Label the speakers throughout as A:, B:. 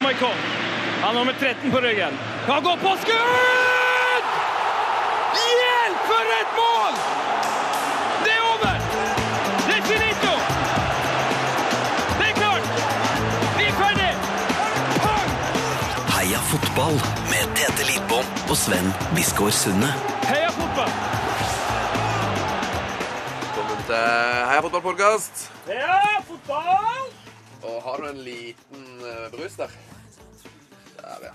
A: Kom. Han har nummer 13 på ryggen. Han går på skudd! Hjelp, for et mål! Det er over! Det er finito! Det er klart! Vi er ferdig! Pang!
B: Heia fotball med Tete Lidbom og Sven Biskår Sunde.
A: Heia fotball!
C: Velkommen til Heia fotballpodkast.
A: Heia fotball!
C: Og har du en liten eh, brus der? Der, ja.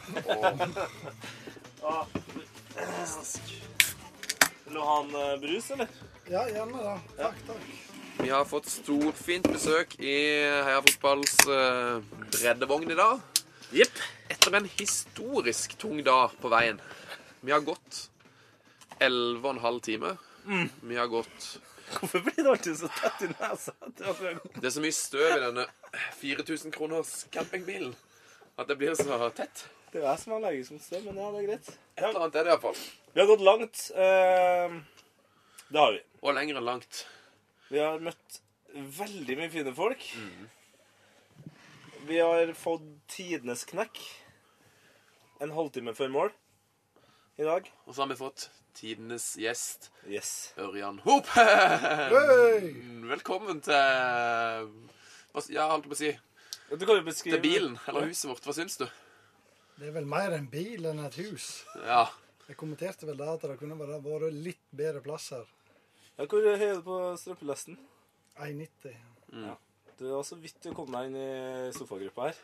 C: Og
D: Vil du ha en eh, brus, eller?
E: Ja, gjerne det. Takk, takk.
C: vi har fått storfint besøk i Heia fotballs eh, breddevogn i dag.
D: Jepp.
C: Etter en historisk tung dag på veien. Vi har gått 11,5 timer. Vi har gått
D: Hvorfor blir det alltid så tett i nesa? Det var for-
C: Det er så mye støv i denne 4000 kroners campingbilen at det blir så tett.
D: Det er jo jeg som er allergisk mot støv, men ja, det er greit.
C: Et eller annet er det iallfall.
D: Vi har gått langt. eh, det har vi.
C: Og lenger enn langt.
D: Vi har møtt veldig mye fine folk. Vi har fått tidenes knekk en halvtime før mål i dag.
C: Og så har vi fått tidenes gjest.
D: Yes.
C: Ørjan Hopen!
E: Hei!
C: Velkommen til hva s- Ja, holdt jeg på å si
D: Du kan jo beskrive
C: Til bilen, eller huset vårt. Hva syns du?
E: Det er vel mer en bil enn et hus.
C: Ja.
E: Jeg kommenterte vel det at det kunne bare vært litt bedre plass her.
D: Ja, hvor høy er du på strømpelesten?
E: 1,90.
D: Du har så vidt du kom deg inn i sofagruppa her.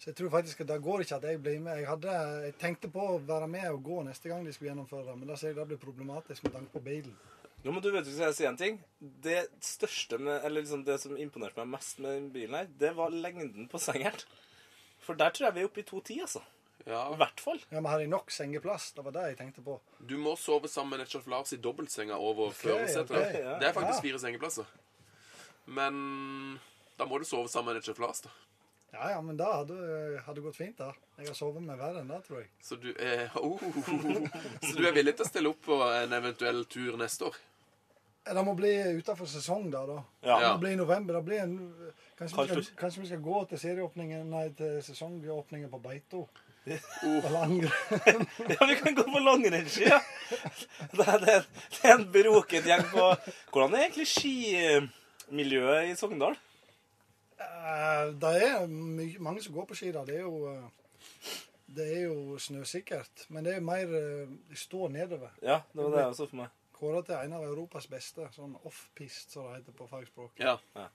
E: Så jeg tror faktisk at det går ikke at jeg blir med. Jeg, hadde, jeg tenkte på å være med og gå neste gang de skulle gjennomføre det, men da ser jeg det blir problematisk med tanke på bilen.
D: Jo, men du vet jo, skal jeg si en ting? Det største, med, eller liksom det som imponerte meg mest med den bilen her, det var lengden på sengeren. For der tror jeg vi er oppe i 2,10, altså. I
C: ja.
D: hvert fall.
E: Ja, men har jeg nok sengeplass? Det var det jeg tenkte på.
C: Du må sove sammen med Netchef Lars i dobbeltsenga over førersetet.
E: ok,
D: ja.
C: Det er faktisk
E: Ja.
C: fire sengeplasser. Men da må du sove sammen med Netchef Lars, da.
E: Ja, ja, men det hadde, hadde gått fint, da. Jeg har sovet med verre enn det, tror jeg.
C: Så du er oh. Så du er villig til å stille opp på en eventuell tur neste år?
E: Eh, Det må bli utenfor sesong, da. da.
D: Ja.
E: Det blir i november. Det blir en, kanskje, vi skal,
D: Kaldt.
E: kanskje vi skal gå til serieåpningen, nei, til sesongåpningen på Beito?
C: Oh.
E: På langrenn?
D: Ja, vi kan gå på langrennsski, ja. Det er, det er- det er en broket gjeng på Hvordan er egentlig skimiljøet i Sogndal?
E: Eh, Det er my mange som går på ski. da. Det er jo eh, det er jo snøsikkert, men det er mer eh, De står nedover.
D: Ja, det var det jeg så for meg.
E: Kåra til en av Europas beste. Sånn off-pist, som det heter på fagspråk.
C: Ja.
D: Ja.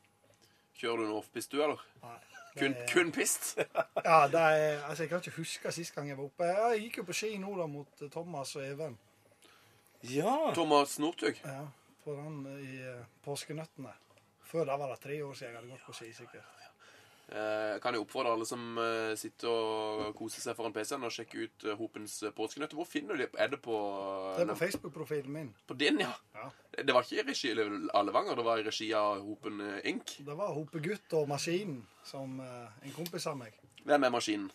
C: Kjører du noe offpist, du, eller?
E: Nei, det
C: Kun,
E: er-
C: kun pist?
E: Ja, det er, altså, Jeg kan ikke huske sist gang jeg var oppe. Ja, Jeg gikk jo på ski nå da mot eh, Thomas og Even.
D: Ja.
C: Thomas Northug?
E: Ja, For han i eh, påskenøttene. Før da var det tre år siden jeg hadde gått på ski. sikkert.
C: Eh, kan jeg oppfordre alle som eh, sitter og koser seg foran PC-en, og sjekke ut eh, Hopens eh, påskenøtter. Hvor finner du dem? Er det på, eh,
E: Det er på Facebook-profilen min.
C: på din, ja?
E: Ja.
C: Det var ikke i regi av Levanger, det var i regi av Hopen eh, Inc.
E: Det var Hopegutt og Maskinen, som eh, en kompis av meg.
C: Hvem er maskinen?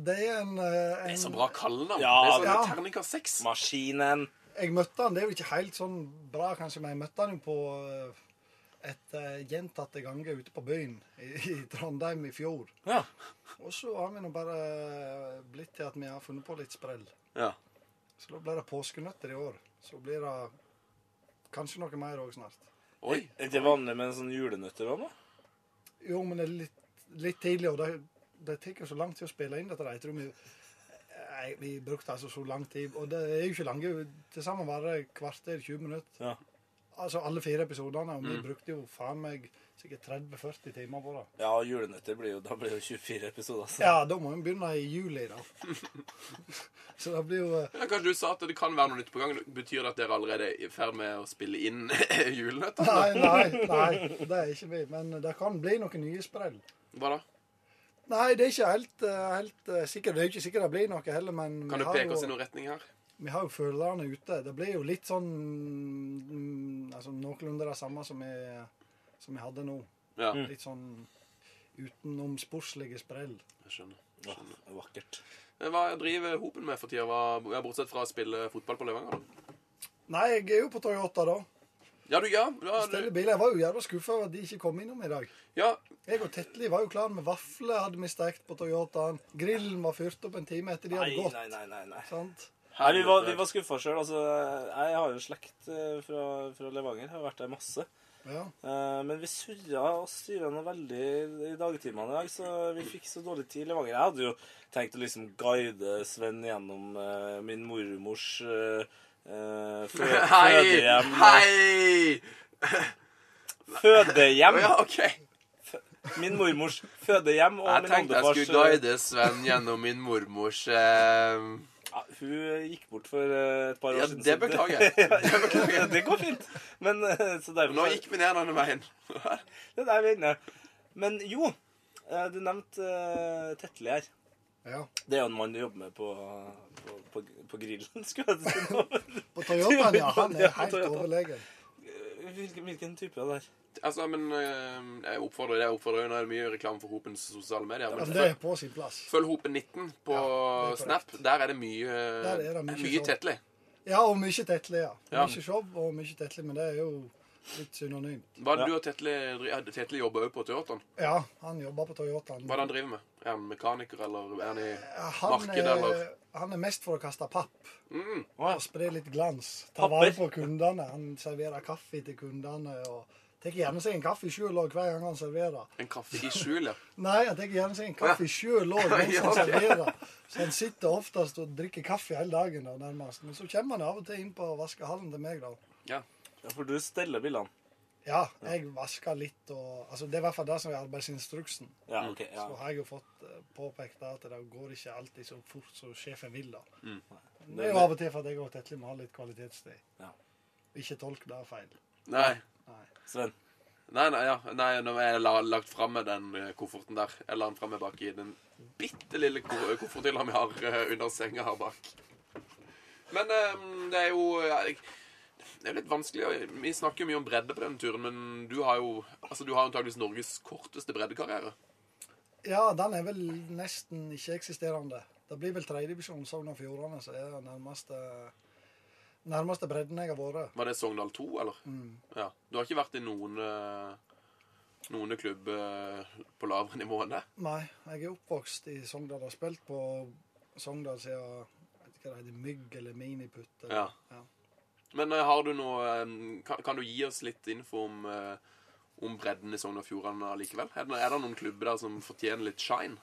E: Det er en, eh,
C: Det er
E: en
C: så bra kallenavn.
D: Ja,
C: det er sånn
E: ja.
C: terning av seks.
D: Maskinen.
E: Jeg møtte han, det er jo ikke helt sånn bra kanskje, men jeg møtte han jo på eh, et eh, gjentatte ganger ute på byen i, i Trondheim i fjor.
D: Ja.
E: Og så har vi nå bare blitt til at vi har funnet på litt sprell.
C: Ja.
E: Så da blir det påskenøtter i år. Så blir det kanskje noe mer òg snart.
C: Oi.
D: Er det vanlig med sånne julenøtter òg, nå?
E: Jo, men det er litt, litt tidlig, og det, det tar jo så lang tid å spille inn dette. der. Jeg tror vi, jeg, vi brukte altså så lang tid, og det er jo ikke lange. Til sammen varer det kvarter, 20 minutter.
D: Ja.
E: Altså alle fire episodene, og vi
C: Mm.
E: brukte jo faen meg sikkert 30-40 timer på det.
D: Ja, julenøtter blir jo Da blir det jo 24 episoder, altså.
E: Ja, da må vi begynne i juli, da. Så det blir jo eh,
C: Ja, kanskje du sa at det kan være noe nytt på gang. Betyr det at dere allerede er i ferd med å spille inn julenøtter?
E: Nei, nei, nei. Det er ikke vi. Men det kan bli noen nye sprell.
C: Hva da?
E: Nei, det er ikke helt, eh, helt eh, sikkert. Det er jo ikke sikkert det blir noe heller, men
C: Kan du
E: har
C: peke
E: jo-
C: oss i noen retning her?
E: Vi har jo følgerne ute. Det blir jo litt sånn mm, altså Noenlunde det samme som vi, som vi hadde nå.
C: Ja,
E: Litt sånn utenomsportslige sprell.
C: jeg skjønner.
D: Åh, Vakkert.
C: Men Hva driver Hopen med for tida, Hva- ja, bortsett fra å spille fotball på Levanger? da?
E: Nei, jeg er jo på Toyota, da.
C: Ja, du, ja, ja,
E: Stelle
C: du,
E: biler. Jeg var jo jævla skuffa over at de ikke kom innom i dag.
C: ja.
E: Jeg og Tetli var jo klar med vafler hadde vi stekt på Toyotaen. Grillen var fyrt opp en time etter de
D: Nei,
E: hadde gått.
D: nei, nei, nei, nei.
E: Sant?
D: Nei, vi var, vi var skuffa sjøl. Altså, jeg har jo slekt eh, fra, fra Levanger. Jeg har vært der masse.
E: Ja.
D: Eh, Men vi surra og styra noe veldig i dagtimene i dag, så vi fikk så dårlig tid i Levanger. Jeg hadde jo tenkt å liksom guide Sven gjennom eh, min mormors uh,
C: Hei!
D: fødehjem.
C: Hei! Å
D: Fødehjem!
C: ja, OK. Jeg
D: Min mormors fødehjem og min
C: tenkte jeg
D: oldefars
C: skulle guide
E: eh,
C: Sven gjennom min mormors eh,
D: Ja, Hun gikk bort for eh, et par år
C: Ja,
D: siden.
C: det
D: så
C: beklager jeg. Det beklager
D: Ja,
C: jeg.
D: det går fint. Men eh, så derfor
C: Nå gikk vi ned denne veien.
D: Det der vi er inne. Men jo, eh, du nevnte eh, Tetli her.
E: ja.
D: Det er jo en mann du jobber med på, på, på, på grillen, skulle jeg si. nå.
E: På Toyotaen, ja. Han
D: Ja,
E: er
D: på
E: helt
D: Toyotaen.
E: overlegen.
D: Hvilken, hvilken type er det her?
C: Altså, men eh, Jeg oppfordrer jeg oppfordrer jo, nå er det mye reklame for Hopens sosiale medier.
E: Altså,
C: Men
E: det
C: følg,
E: er på sin plass.
C: følg Hopen19 på
E: Ja, det er korrekt.
C: Snap. Der er det mye eh,
E: Der er det mye
C: mye
E: sånn.
C: Tetli.
E: Ja, og mye Tetli, ja.
C: Ja.
E: Mye show og mye Tetli, men det er jo litt synonymt.
C: Hva er det
D: Ja.
C: du og Tetli dri- hadde Tetli jobba òg på Toyotaen?
E: Ja, han jobber på Toyotaen.
C: Hva er det han driver med? Er han mekaniker, eller er han i
E: Han
C: marked,
E: er,
C: eller? Mm.
E: han er mest for å kaste papp.
D: Å,
E: Og spre litt glans. Ta vare
D: Papper.
E: på kundene. Han serverer kaffe til kundene. og Tar gjerne seg en kaffe sjøl òg hver gang han serverer.
C: En kaffe i skjul, ja.
E: Nei, han tar gjerne seg en kaffe sjøl òg mens
C: Ja,
E: han
C: ok.
E: serverer. Så han sitter oftest og drikker kaffe hele dagen da, nærmest. Men så kommer han av og til inn på vaskehallen til meg, da.
C: ja.
D: Ja, for du steller bilene.
E: Ja, jeg vasker litt og altså, Det er i hvert fall det som er arbeidsinstruksen.
D: Ja, ok. Ja.
E: Så har jeg jo fått eh, påpekt at det går ikke alltid så fort som sjefen vil, da. Det er jo av og til for at jeg og Tetle må ha litt kvalitetstid.
D: Ja.
E: Ikke tolk det feil.
C: Nei.
D: Sven.
C: Nei, nei, ja. nei, nå er jeg la- lagt fram med den eh, kofferten der. Jeg la den framme bak i den bitte lille ko kofferthylla vi har eh, under senga her bak. Men eh, det er jo ja, jeg- Det er jo litt vanskelig. å- Vi snakker jo mye om bredde på denne turen, men du har jo altså, du har antakeligvis Norges korteste breddekarriere.
E: Ja, den er vel nesten ikke-eksisterende. Det blir vel tredjedivisjon Sogn og Fjordane som er den nærmeste, nærmeste bredden jeg har vært.
C: Var det Sogndal 2, eller? Ja. Du har ikke vært i noen eh, noen klubb eh, på lavere nivå enn det?
E: Nei, jeg er oppvokst i Sogndal og har spilt på Sogndal siden jeg vet ikke hva det heter, Mygg eller Miniputt. Eller,
C: Ja. Men eh, har du noe eh, kan, kan du gi oss litt info om, eh, om bredden i Sogn og Fjordane allikevel? Er det, er det noen klubber der som fortjener litt shine?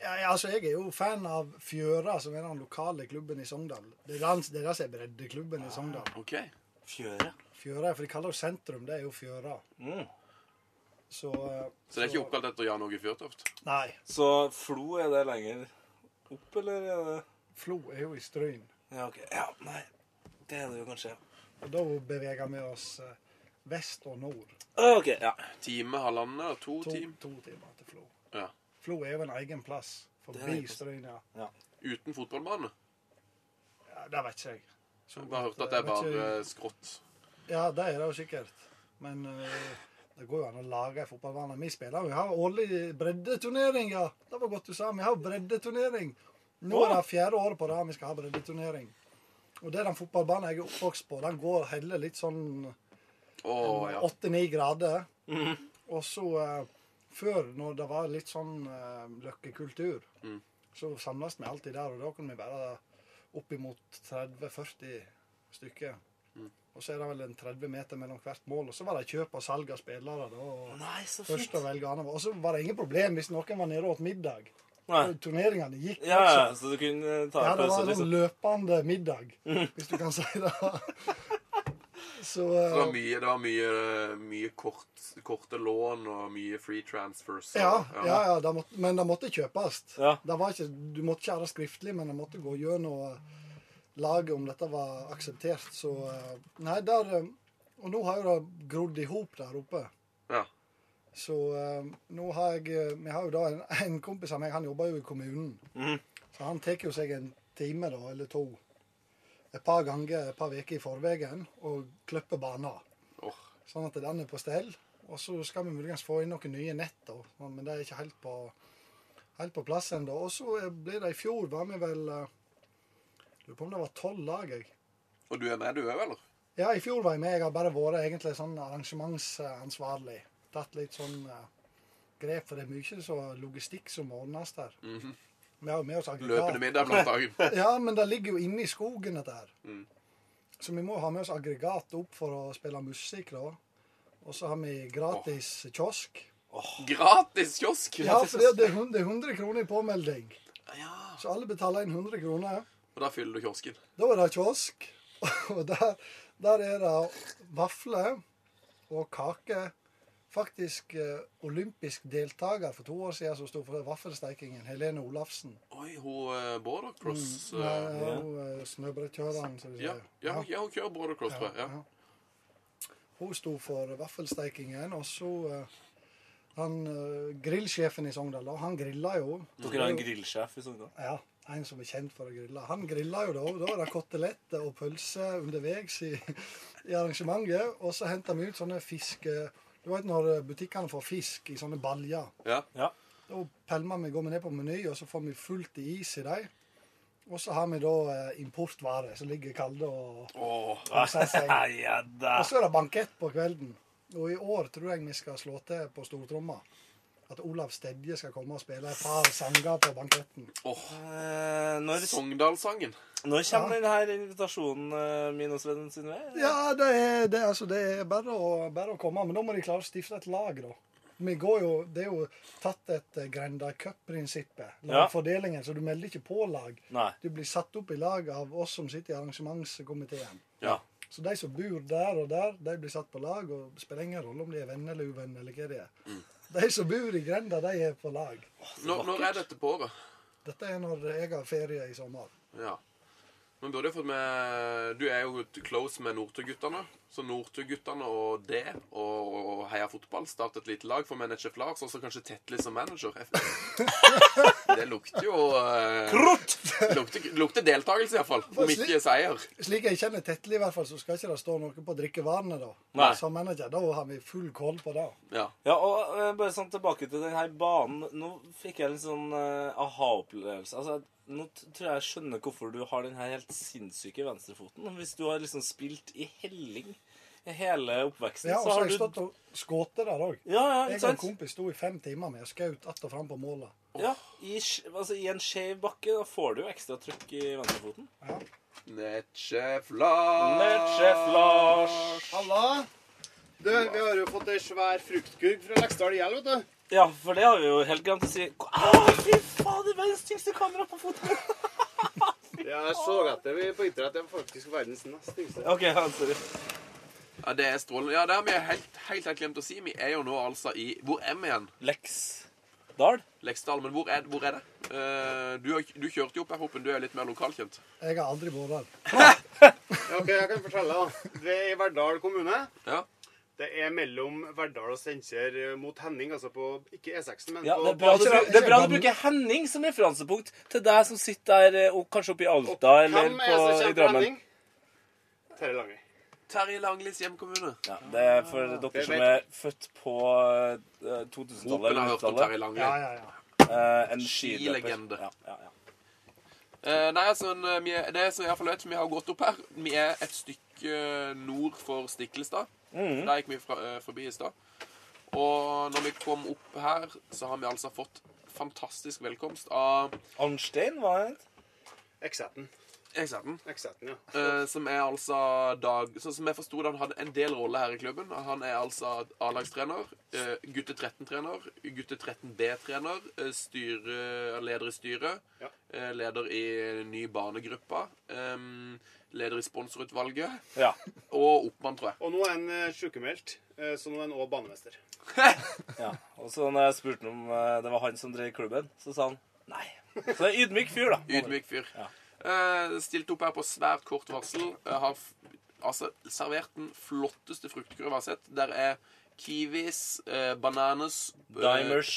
E: Ja, ja, altså, Jeg er jo fan av Fjøra, som er den lokale klubben i Sogndal. Det er den- det er det som er breddeklubben i Sogndal.
C: OK.
D: Fjøre.
E: Fjøra, for de kaller jo sentrum, det er jo Fjøra.
D: Mm.
E: Så,
C: Så det er ikke oppkalt etter Jan Åge Fjørtoft?
E: Nei.
D: Så Flo, er det lenger opp, eller er det
E: Flo er jo i Stryn.
D: Ja, ok. Ja, nei. Det er det jo kanskje.
E: Og da beveger vi oss eh, vest og nord.
D: Å, Ok, ja.
C: Time, halvannen eller to,
E: To,
C: team?
E: to timer til Flo.
C: Ja.
E: Flo er jo en egen plass.
D: Det er en
E: Forbi
D: egen plass.
E: Stryn, ja.
C: Uten fotballbane?
E: ja. Det vet ikke jeg. Så
C: Jeg bare
E: godt,
C: hørte at det
E: eh,
C: er
E: vet
C: bare
E: ikke-
C: skrått.
E: Ja, det er det jo sikkert. Men eh, det går jo an å lage en fotballbane. Vi spiller jo, vi har årlig breddeturnering, ja. Det var godt du sa. Vi har breddeturnering. Nå er det fjerde året på rad vi skal ha breddeturnering. Og det er den fotballbanen jeg er oppvokst på. Den går heller litt sånn
C: Å ja.
E: åtte-ni grader.
D: Mm.
E: Og så eh, før, når det var litt sånn eh, løkkekultur,
C: Mm.
E: så samles vi alltid der, og da kunne vi være oppimot 30-40 stykker.
D: Mm.
E: Og så er det vel en 30 meter mellom hvert mål. Og så var det kjøp og salg av spillere. da, og
D: Nei, så
E: først
D: fint.
E: å velge andre. Og så var det ingen problem hvis noen var nede og åt middag.
D: Nei.
E: For Turneringene gikk
D: Ja, ja,
E: også.
D: så du kunne ta
E: Ja,
D: en pause,
E: det var en
D: liksom. Mm.
E: sånn løpende middag, hvis du kan si det. Så,
C: Det var
E: eh,
C: mye, det var mye, mye kort, korte lån og mye free transfers. og-
E: Ja, ja, ja det måtte, men det måtte kjøpes.
D: Ja.
E: Det var ikke, du måtte ikke ha det skriftlig, men det måtte gå gjennom eh, laget om dette var akseptert. Så eh, Nei, der eh, Og nå har jo det grodd i hop der oppe.
C: Ja.
E: Så eh, nå har jeg eh, Vi har jo da en, en kompis av meg, han jobber jo i kommunen. Så han tar jo seg en time, da, eller to, et par ganger et par uker i forveien og klipper baner.
C: Åh,
E: Sånn at den er på stell. Og så skal vi muligens få inn noen nye nett, da. men det er ikke helt på, helt på plass ennå. Og så eh, blir det i fjor, var vi vel eh, Lurer på om det var tolv lag, jeg.
C: Og du er med, du òg, eller?
E: Ja, i fjor var jeg med. Jeg har bare vært egentlig sånn arrangementsansvarlig. Tatt litt sånn eh, grep, for det er mye så logistikk som må ordnes der. Vi har jo med oss
C: Løpende
E: aggregat.
C: middag blant annet.
E: Ja, men det ligger jo inne i skogen, dette her.
C: Mm.
E: Så vi må ha med oss aggregat opp for å spille musikk, da. Og så har vi gratis kiosk.
C: Gratis kiosk!
E: Ja, for det det er hun- det er 100 kroner i påmelding.
C: Ja.
E: Så alle betaler inn 100 kroner.
C: Og da fyller du kiosken.
E: Da er det kiosk, og der, der er det vafler og kake. Faktisk eh, olympisk deltaker for to år siden som sto for vaffelstekingen, Helene Olafsen.
C: Oi, hun eh, border cross
E: Nei,
C: eh,
E: hun, eh, Snøbrettkjøreren, som de
C: ja,
E: sier.
C: ja, hun- ja, hun kjører border cross, tror jeg. Ja.
E: ja. Hun sto for vaffelstekingen, og så eh, han eh, grillsjefen i Sogndal, da, han grilla jo.
D: Dere har en grillsjef i Sogndal?
E: Ja, en som er kjent for å grille. Han grilla jo da, og da er det koteletter og pølse underveis i, i arrangementet. Og så henter vi ut sånne fiske... Du vet når eh, butikkene får fisk i sånne baljer.
C: Ja.
D: Ja.
E: Da pælmer vi, går vi ned på Meny, og så får vi fullt i is i dem. Og så har vi da eh, importvarer som ligger kalde og
C: Åh,
E: koser seg.
D: ja da.
E: Og så er det bankett på kvelden. Og i år tror jeg vi skal slå til på stortromma. At Olav Stedje skal komme og spille et par sanger på banketten.
C: åh.
D: Eh, når,
C: Sogndalssangen.
D: når kommer denne invitasjonen eh, min og Sven sin vei?
E: Ja, det er, det, er- altså, det er bare å, bare å komme. Men da må de klare å stifte et lag, da. Vi går jo, det er jo tatt etter Grenda Cup-prinsippet.
D: Ja.
E: Lagfordelingen. Så du melder ikke på lag.
D: Nei.
E: Du blir satt opp i lag av oss som sitter i arrangementskomiteen.
C: Ja.
E: Så de som bor der og der, de blir satt på lag. Og det spiller ingen rolle om de er venner eller uvenner eller hva de er.
D: Mm.
E: De som bor i grenda, de er på lag.
C: Når, når er dette på året?
E: Dette er når jeg har ferie i sommer.
C: Ja. Men burde jeg fått med Du er jo close med Northug-guttene. Så Northug-guttene og det og, og Heia Fotball startet et lite lag for manager Lars, og så kanskje Tetley som manager. Det lukter jo eh,
D: Krutt!
C: lukter, lukter deltakelse, iallfall. Om ikke seier.
E: Slik jeg kjenner Tetli, i hvert fall, så skal ikke det stå noe på drikkevarene, da.
D: Nei.
E: Som manager, da har vi full koll på det.
C: Ja.
D: Ja, og eh, bare sånn tilbake til den her banen. Nå fikk jeg en sånn eh, aha-opplevelse. Altså, nå t- tror jeg jeg skjønner hvorfor du har den her helt sinnssyke venstrefoten. Hvis du har liksom spilt i helling i hele oppveksten,
E: Ja, og
D: så
E: så har
D: har
E: jeg
D: du
E: stått og skutt der òg.
D: Ja, ja,
E: Jeg
D: ikke
E: og en
D: sant?
E: kompis sto i fem timer med og skjøt att og fram på målet.
D: Ja, i, sk- altså, I en skjev bakke da får du jo ekstra trykk i venstrefoten.
E: Ja.
C: Netsjef Lars.
D: Netsjef Lars.
F: Halla! Du, vi har jo fått ei svær fruktkurv fra Leksdal IL, vet du.
D: Ja, for det har vi jo helt glemt å si. Å, fy faen, det verdens tyngste kamera på foten!
F: Ja, jeg så etter vi på internett. Det er faktisk verdens nest yngste.
D: OK, ja, sorry.
C: Ja, det er strålende. Ja, det har vi helt, helt, helt glemt å si. Vi er jo nå altså i Hvor er vi igjen?
D: Lex Dahl.
C: Leksdal. Men hvor er, hvor er det? Eh, du, har- du kjørte jo opp her, Hoppen. Du er jo litt mer lokalkjent.
E: Jeg har aldri vært der.
F: Ja, ok, jeg kan fortelle, da. Det er i Verdal kommune.
C: Ja.
F: Det er mellom Verdal og Steinkjer eh, mot Henning, altså på Ikke E6, men
D: Ja, det
F: på
D: er bra du,
E: Ikke det-
D: bru- det er bra
E: ikke
D: du
E: det-
D: bruker Henning som referansepunkt til deg som sitter der, eh, og kanskje oppe i Alta eller
F: Hvem
D: på,
F: er det
D: i
F: som kommer til
D: Drammen.
F: Henning? Terje Lange.
C: Terje Langlis hjemkommune.
D: Ja, det er for dere
F: Det
D: som
F: vet-
D: er født på eh, 2000-tallet
C: Hopen
D: eller
C: har hørt om
D: 90-tallet.
C: Terje Langli.
E: Ja, ja, ja.
D: Eh, en
C: Skilegende.
D: skiløper. Ja, ja, ja.
C: Eh, nei, altså, en- vi er, det som i hvert fall vet, vi har gått opp her. Vi er et stykke eh, nord for Stiklestad. Der gikk vi fra, eh, forbi i stad. Og når vi kom opp her, så har vi altså fått fantastisk velkomst av
D: Arnstein, hva er det?
F: X17.
C: Ekserten.
F: X17, ja.
C: Eh, som er altså Dag Sånn som jeg forsto det, han hadde en del rolle her i klubben. Han er altså A-lagstrener, eh, gutte 13-trener, gutte 13B-trener, eh, styre, leder i styret,
F: Ja.
C: eh, leder i ny barnegruppa, ehm, leder i sponsorutvalget
D: Ja.
C: og oppmann, tror jeg.
F: Og nå er han eh, sykemeldt, eh, så nå er han òg banemester.
D: ja. Og så når jeg spurte om eh, det var han som drev klubben, så sa han nei. Så det er ydmyk fyr, da.
C: Ydmyk fyr. Eh, stilt opp her på svært kort varsel. Eh, har f altså servert den flotteste fruktkurven jeg har sett. Der er kiwis, eh, bananas eh,
D: Dimers.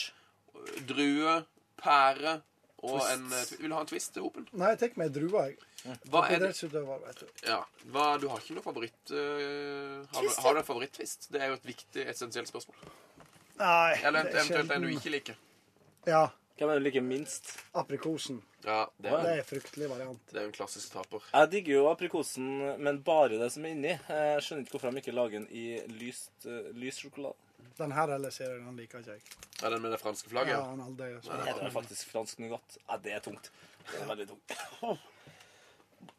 C: drue, pære og
D: Twist.
C: en eh, twi- Vil du ha en twist til hopen?
E: Nei, jeg tar med drua, jeg.
C: Hva er det?
E: Idrettsutøver, vet du.
C: Ja, hva, du har ikke noe favoritt... eh, har, du- har du en favoritt-twist? Det er jo et viktig, essensielt spørsmål.
E: Nei,
C: Eller
E: det er
C: eventuelt en du
E: sjelden.
C: ikke liker.
E: Ja.
D: Hvem er det du liker minst?
E: Aprikosen.
C: Ja, det er,
E: Det er en fryktelig variant.
C: det er jo en klassisk taper.
D: Jeg digger jo aprikosen, men bare det som er inni. Jeg skjønner ikke hvorfor de ikke lager den i lyst, eh, lys sjokolade.
E: Den her eller serien, den liker ikke jeg.
C: Er den med det franske
E: Ja,
C: flagget?
E: han aldri altså.
D: Heter det faktisk fransk nougat? Ja, det er tungt. Det er veldig tungt.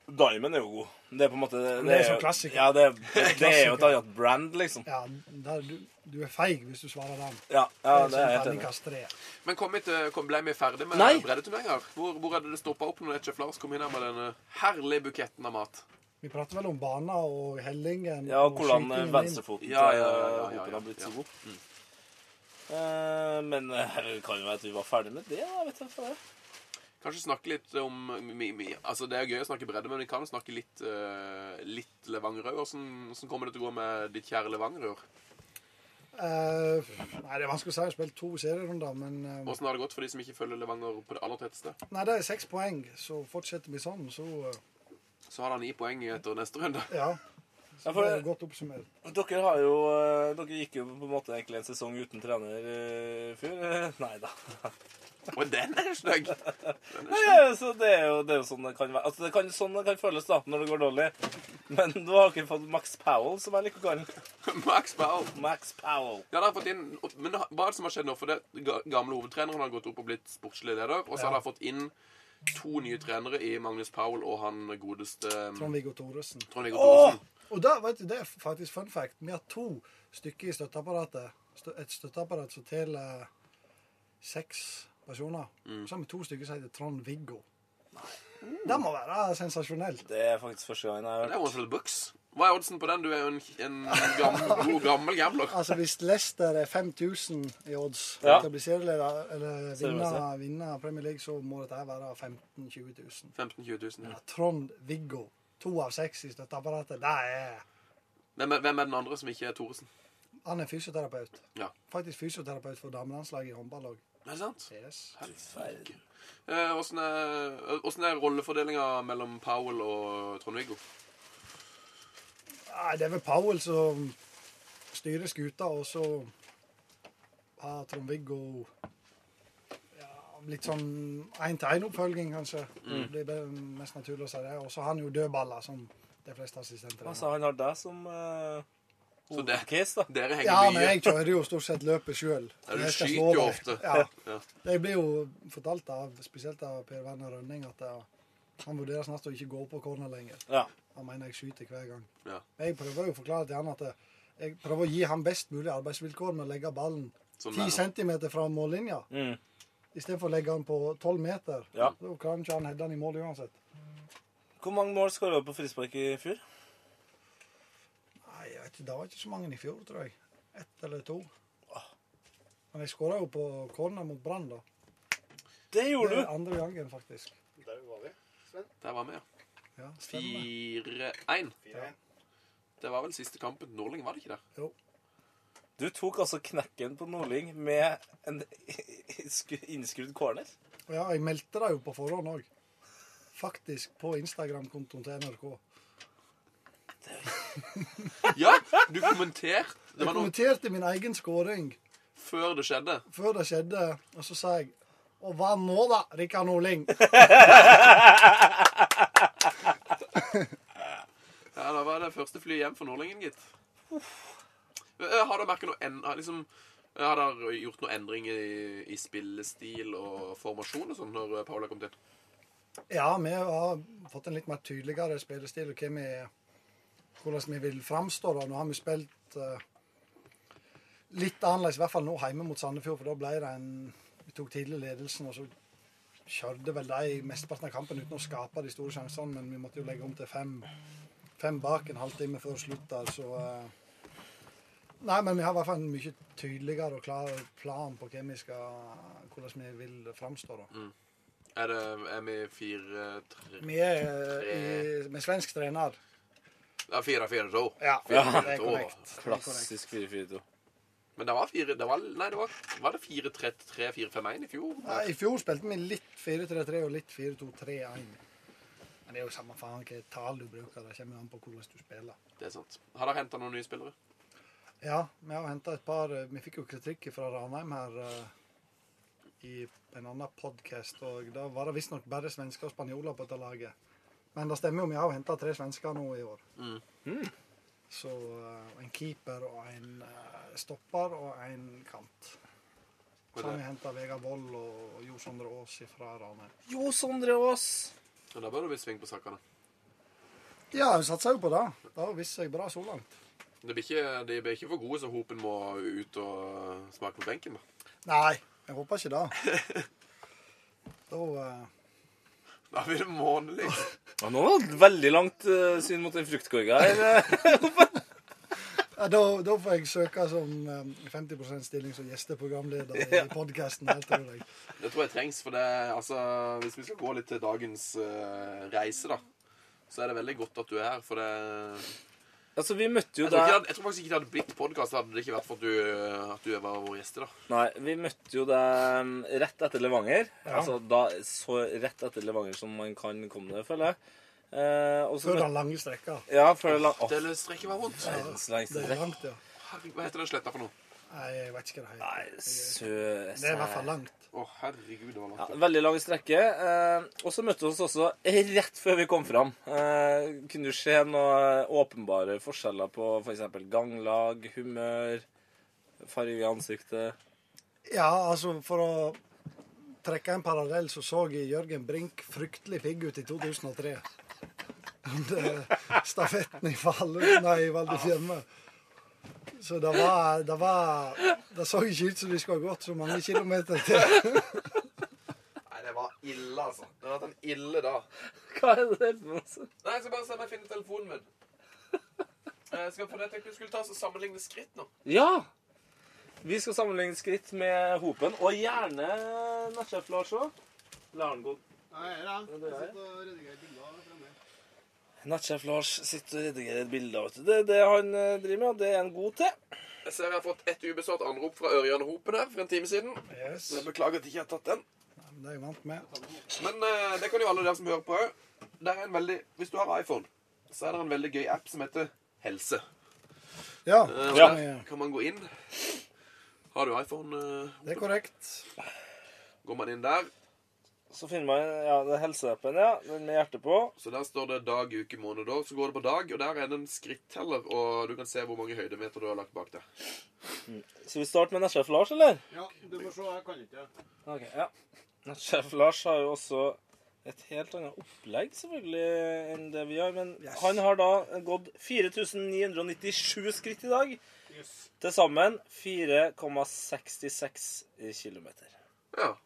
D: Diamond er jo god. Det er på en måte Det,
E: det er sånn
D: jo-
E: klassiker.
D: Ja, det, er- det er jo et annet brand, liksom.
E: Ja, der, du, du er feig hvis du svarer den.
D: Ja, ja det er sånn jeg helt enig i.
E: terningkast tre.
C: Men kom hit, eh, kom, ble vi ferdig med
D: Nei.
C: breddeturneringer? Hvor, hvor hadde det stoppa opp når det ikke Lars kom inn her med denne herlige buketten av mat?
E: Vi prater vel om baner og hellingen.
D: Ja, og hvordan eh,
E: skytingen din.
D: venstrefoten
C: Ja, ja, ja, ja,
D: til, eh,
C: ja, ja,
D: Hopen har blitt
C: ja.
D: så god. Eh, men eh, det kan jo være at vi var ferdig med det. da, vet jeg for det.
C: Kanskje snakke litt om mi, mi. Altså, Det er gøy å snakke bredde, men vi kan jo snakke litt, uh, litt Levangerød. Hvordan, hvordan kommer det til å gå med ditt kjære Levangerød?
E: Eh, nei, det er vanskelig å si. Jeg har spilt to serierunder, men eh,
C: Hvordan har det gått for de som ikke følger Levanger på det aller tetteste?
E: Nei, det er seks poeng, så fortsetter vi sånn, så eh,
C: Så har han ni poeng etter neste runde.
E: ja.
D: Ja,
E: Så
D: for
E: det
D: det-
E: er godt oppsummert.
D: Dere, har jo, eh, dere gikk jo på en måte egentlig en sesong uten trener eh, før. eh, Nei da.
C: Og den er stygg!
D: Ja, så det er, jo, det er jo sånn det kan være. Altså, det kan, sånn det kan føles da, når det går dårlig. Men du har ikke fått Max Powell, som jeg liker å kalle han.
C: Max Powell.
D: Max Powell.
C: Ja, da har han fått inn, men hva er det som har skjedd nå? For det ga- gamle hovedtreneren har gått opp og blitt sportslig leder, og så har han fått inn to nye trenere i Magnus Powell og han godeste um,
E: Trond-Viggo Thoresen.
C: Trond-Viggo Thoresen.
E: Og da, vet du, det er faktisk fun fact. Vi har to stykker i støtteapparatet. Stø- Et støtteapparat som teller seks personer. Så har vi to stykker som heter Trond-Viggo. Det må være sensasjonelt.
D: Det er faktisk første gangen jeg har
C: Det
D: hørt
C: er one for the books. Hva er oddsen på den? Du er jo en, en gammel, god, gammel gambler.
E: Altså Hvis Leicester er 5000 i odds
D: Ja.
E: til å bli serieleder eller vinne,
D: Seriemester.
E: vinne Premier League, så må dette her være 15 000-20 000.
C: 15 000-20 000.
E: Ja, Trond-Viggo. To av seks i støtteapparatet. Det er
C: Hvem, er- hvem er den andre som ikke er Thoresen?
E: Han er fysioterapeut.
C: Ja.
E: Faktisk fysioterapeut for damelandslaget i håndball òg.
C: Er det sant?
E: Yes.
C: Helsike. Eh, Åssen er, hvordan er rollefordelinga mellom Powell og Trond-Viggo?
E: Nei, det er vel Powell som styrer skuta, og så har Trond-Viggo ja, litt sånn én-til-én-oppfølging, kanskje.
C: Mm.
E: Det er bare mest naturlig å si det. Og så har han jo dødballer, som de fleste assistenter har.
D: Altså, han har deg som eh,
C: Så det-
D: hovedcase, da.
C: Dere
E: Ja,
C: henger
E: men
C: mye.
E: jeg kjører jo stort sett løpet sjøl.
C: Ja, du skyter jo ofte.
E: Ja.
C: Ja.
E: Jeg blir jo fortalt av spesielt av Per Werner Rønning at eh, han vurderer snart å ikke gå på corner lenger.
D: Ja.
E: Han mener jeg skyter hver gang.
C: Ja.
E: Men jeg prøver jo å forklare til han at eh, jeg prøver å gi ham best mulig arbeidsvilkår med å legge ballen
C: Som
E: 10
C: den.
E: cm fra mållinja,
D: Mm.
E: istedenfor å legge den på 12 meter.
D: Ja.
E: Da kan ikke han heade den i mål uansett.
D: Hvor mange mål skåra du på frispark i fjor?
E: Nei, jeg vet ikke, Det var ikke så mange i fjor, tror jeg. Ett eller to. Men jeg skåra jo på corner mot Brann, da.
D: Det
E: Det
D: gjorde
E: er
D: du.
E: andre gangen, faktisk.
F: Der var vi. Sven.
C: Der var vi, ja.
E: Ja, stemmer.
C: 4-1.
F: Fire.
C: Det var vel siste kampen. Norling, var det ikke det?
E: Jo.
D: Du tok altså knekken på Nordling med en sku- innskrudd corner.
E: Ja, jeg meldte det jo på forhånd òg. Faktisk på Instagram-kontoen til NRK.
C: Ja, du kommenterte. Det
E: Jeg
C: var noe
E: kommenterte min egen skåring
C: før det skjedde.
E: før det skjedde, og så sa jeg Og hva nå, da, Rikard Norling?
C: Ja, Da var det første flyet hjem for Nordlingen, gitt. Eh, Har dere merket noe en, har liksom, eh, Har dere gjort noen endringer i, i spillestil og formasjon og sånn når eh, Paula kom til?
E: Ja, vi har fått en litt mer tydeligere spillestil og hva vi, hvordan vi vil framstå. da. Nå har vi spilt eh, litt annerledes, i hvert fall nå hjemme mot Sandefjord, for da ble det en Vi tok tidlig ledelsen, og så kjørte vel de mesteparten av kampen uten å skape de store sjansene, men vi måtte jo legge om til fem, fem bak en halvtime før slutt der, så eh, Nei, men vi har i hvert fall en mye tydeligere og klar plan på hva vi skal, hvordan vi vil framstå. da.
C: Er, det, er vi fire tre
E: Vi er eh, i, med svensk trener.
C: Ja, fire fire to.
E: Ja, det er korrekt.
D: Klassisk 4-4-2.
C: Men det var fire det var, Nei, det var, var det fire tre tre fire fem én i fjor?
E: Ja, I fjor spilte vi litt 4-3-3 og litt 4-2-3-1. Men det er jo samme faen hva tall du bruker. Det kommer jo an på hvordan du spiller.
C: Det er sant. Har dere henta noen nye spillere?
E: Ja, vi har hentet et par eh, Vi fikk jo kritikk fra Ranheim her eh, i en annen podkast, og da var det visstnok bare svensker og spanjoler på dette laget. Men det stemmer jo, vi har jo henta tre svensker nå i år. Så eh, en keeper og en eh, stopper og en kant. Så har vi henta Vegard Wold og Jo Sondre Aas fra Ranheim.
D: Jo, Sondre Aas!
C: Men Da bør det bli sving på sakene.
E: Ja, hun satser jo på det. Det har vist seg bra så langt.
C: Det blir ikke, de blir ikke for gode, så Hopen må ut og smake på benken. Da
E: Nei, jeg håper ikke det. Da eh,
C: Da blir det månedlig.
D: Ja, nå var det veldig langt eh, syn mot den fruktkorga her.
E: Ja, da, da får jeg søke som eh, 50 stilling som gjesteprogramleder i podkasten. tror jeg.
C: Det tror jeg trengs, for det, altså, hvis vi skal gå litt til dagens eh, reise, da, så er det veldig godt at du er her, for det
D: Altså, vi møtte jo
C: Jeg tror, ikke, det
D: deg
C: hadde- jeg tror faktisk ikke det hadde blitt podkast hadde det ikke vært for at du, eh, at du var vår gjest i dag.
D: Nei, vi møtte jo deg mm, rett etter Levanger. Altså da, så rett etter Levanger som man kan komme det, føler jeg. Eh, og så
E: Før
D: møtte
E: den lange strekka.
D: Ja, før det lang... Å,
C: Det strekker meg vondt.
D: verdens lengste
E: Det er
D: strekk.
E: langt, ja.
C: Herregud, Hva heter den sletta for noe?
E: Nei, jeg vet ikke hva det
D: Nei,
E: heter.
D: søs
E: Det er i hvert fall langt.
C: Å, herregud, det var
D: Ja,
C: langt. Ja,
D: veldig lang strekke. Eh, og så møtte vi oss også rett før vi kom fram. Eh, kunne du se noen åpenbare forskjeller på f.eks. eksempel ganglag, humør, farge i ansiktet?
E: Ja, altså, for å trekke en parallell, så så jeg Jørgen Brink fryktelig pigg ut i 2003. Under stafetten i Falun, nei, i Valdresfjemme. Så det var, det var Det så ikke ut som de skulle ha gått så mange kilometer til.
C: Nei, det var ille, altså. Det har vært en ille dag.
D: Hva er det for noe?
C: Nei, jeg skal bare se om jeg finner telefonen min. Jeg skal få det til at vi skulle ta oss og sammenligne skritt nå.
D: Ja! Vi skal sammenligne skritt med Hopen, og gjerne nettsjef Lars òg. La han gå.
F: Nei, ja. Jeg
D: det er jeg.
F: sitter og redigerer bilder fremme.
D: Nettsjef Lars sitter og redigerer bilder. vet du. Det er det han eh, driver med, og det er han god til.
C: Jeg ser jeg har fått ett ubesvart anrop fra Ørjan Hopen her for en time siden.
E: Yes.
C: Jeg beklager at jeg ikke har tatt den.
E: Det er jeg vant med.
C: Men eh, det kan jo alle dere som hører på òg. Der er en veldig Hvis du har iPhone, så er det en veldig gøy app som heter Helse.
E: Ja,
C: Eh, og
D: Ja.
C: Der kan man gå inn. Har du iPhone, eh,
E: det er korrekt.
C: går man inn der.
D: Så finner man ja, det er helseappen, ja. Den med hjerte på.
C: Så der står det dag, uke, måned, år. Så går det på dag, og der er det en skritteller, og du kan se hvor mange høydemeter du har lagt bak deg.
D: Skal vi starte med nettsjef Lars, eller?
F: Ja, du må se. Jeg kan ikke.
D: Ok, ja. Nettsjef Lars har jo også et helt annet opplegg selvfølgelig enn det vi har, men
E: Yes.
D: han har da gått 4997 skritt i dag.
F: Yes.
D: Til sammen 4,66 km.
C: Ja.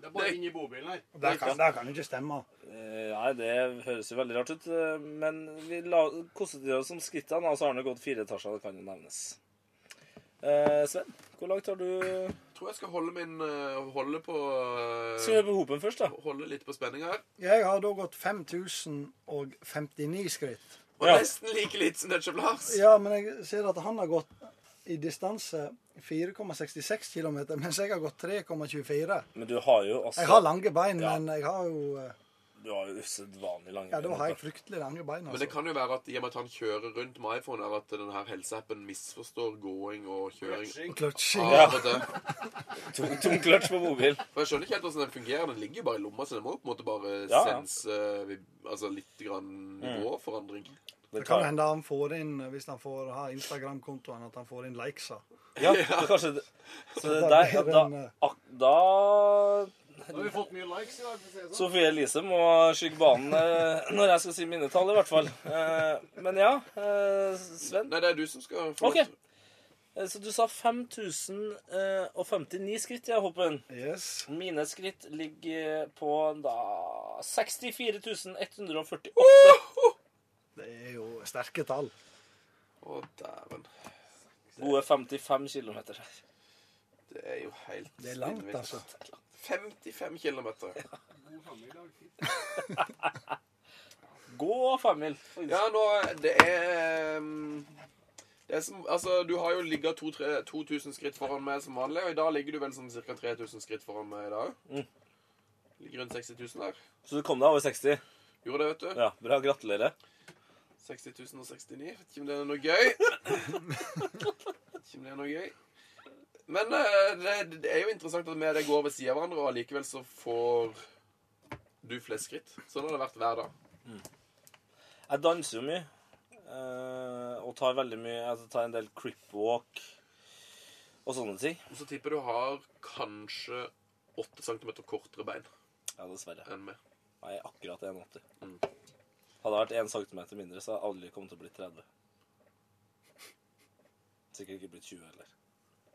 F: Det er bare inn i bobilen her.
E: Det kan, det kan jo ikke stemme.
D: Eh, Nei, det høres jo veldig rart ut, eh, men vi la, kostet oss om skrittene, og så har han jo gått fire etasjer, det kan jo nevnes. Eh, Sven, hvor langt har du
C: Jeg tror jeg skal holde min eh, Holde på eh,
D: Skal vi høre på hopen først, da?
C: Holde litt på spenninga her.
E: Jeg har da gått 5059 skritt.
C: Og
D: Ja.
C: nesten like litt som Netshop Lars.
E: Ja, men jeg ser at han har gått i distanse 4,66 km, mens jeg har gått 3,24.
D: Men du har jo altså
E: Jeg har lange bein,
D: Ja.
E: men jeg har jo eh,
D: Du har jo usedvanlig lange
E: Ja, da har jeg fryktelig lange bein,
C: Men det
E: altså.
C: kan jo være at i og med at han kjører rundt med iPhone, er at denne her helseappen misforstår gåing og kjøring.
F: Rushing.
E: Kløtsjing.
C: Ja, vet du.
D: Tung, tung kløtsj på mobil.
C: For jeg skjønner ikke helt hvordan den fungerer. Den ligger jo bare i lomma, så den må jo på en måte bare
D: Ja, ja. Mm.
C: sense eh, vib- altså litt grann nivåforandring.
E: Det kan hende han får inn, hvis han får ha Instagram-kontoen, at han får inn likesa.
D: Ja, men kanskje det. Så det
E: Da
D: der, ja,
E: blir
D: da,
E: den, eh,
D: ak, da
F: Da har vi fått mye likes i dag. for å si det sånn.
D: Sofie Elise må skygge banen eh, når jeg skal si mine tall, i hvert fall. Eh, Men ja, eh, Sven.
C: Nei, det er du som skal få
D: OK. Eh, Så du sa 5059 skritt, ja, Hoppen.
E: Yes.
D: Mine skritt ligger på da 64148.
E: Det er jo sterke tall.
C: Å, dæven.
D: Gode 55 km her.
C: Det er jo helt
E: Det er langt,
C: spinnvilt.
E: altså.
C: 55 kilometer.
D: Gå femmil. faktisk.
C: Ja, nå Det er um, det er som, altså, Du har jo ligget to- tre- 2000 skritt foran meg som vanlig, og i dag ligger du vel sånn ca. 3000 skritt foran meg i dag. Ligger rundt 60 000 der.
D: Så du kom deg over 60?
C: Gjorde det, vet du.
D: Ja, bra. Gratulerer.
C: 60 069. Vet ikke om det er noe gøy. Vet ikke om det er noe gøy. Men eh, det, det er jo interessant at vi og deg går ved siden av hverandre, og allikevel så får du flest skritt. Sånn har det vært hver dag.
D: Jeg danser jo mye. eh, og tar veldig mye Jeg tar en del crip walk og sånne ting.
C: Og så tipper du har kanskje 8 cm kortere bein
D: Ja, dessverre.
C: enn meg.
D: Jeg er akkurat 1,80. Hadde jeg vært 1 cm mindre, så hadde jeg aldri kommet til å bli 30. Sikkert ikke blitt 20 heller.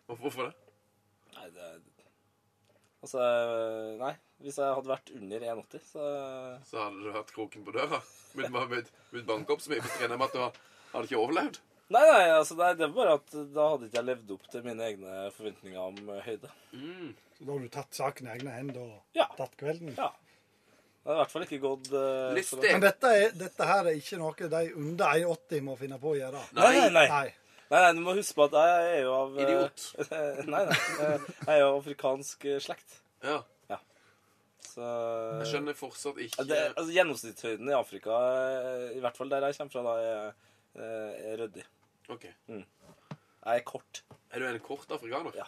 C: Og Hvorfor det?
D: Nei, det er Altså, nei. Hvis jeg hadde vært under 1,80, så
C: Så hadde du hørt kroken på døra. Begynt med- begynt- begynt å banke opp så mye på trening at du hadde hadde ikke overlevd.
D: Nei, nei, altså, det er det er bare at da hadde ikke jeg levd opp til mine egne forventninger om eh, høyde.
E: Så da har du tatt saken i egne hender og
D: Ja.
E: tatt kvelden.
D: Ja. Det hadde i hvert fall ikke gått eh,
C: Lystig.
D: for langt.
E: Men dette, er, dette her er ikke noe de under 1,80 må finne på å gjøre.
D: Nei, nei, nei.
E: Nei.
D: Nei, nei, du må huske på at jeg er jo av eh,
C: Idiot.
D: nei, nei. eh, Jeg er jo av afrikansk eh, slekt.
C: Ja.
D: Så
C: Jeg skjønner fortsatt
D: Ja, det,
C: ikke
D: altså, Gjennomsnittshøyden i Afrika, eh, i hvert fall der jeg kommer fra, da er, eh, er ryddig.
C: OK.
D: Jeg er kort.
C: Er du en kort afrikaner?
D: Ja.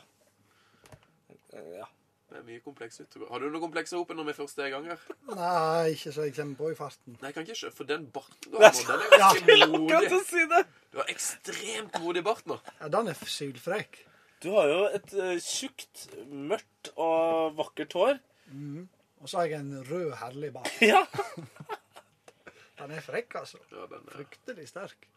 D: Eh, Ja.
C: Det er mye kompleks ut. Har du noe kompleks opp når vi først er i gang her?
E: nei, ikke så jeg kommer på i farten.
C: Nei, jeg kan ikke skjø- for den barten du har nå, den er ganske modig.
D: si det!
C: Du har ekstremt modig bart nå.
E: Ja, Den er sylfrekk.
D: Du har jo et eh, tjukt, mørkt og vakkert hår.
E: Og så har jeg en rød, herlig bak.
D: Ja.
E: Den er frekk, altså.
C: Ja, den er...
E: Fryktelig sterk.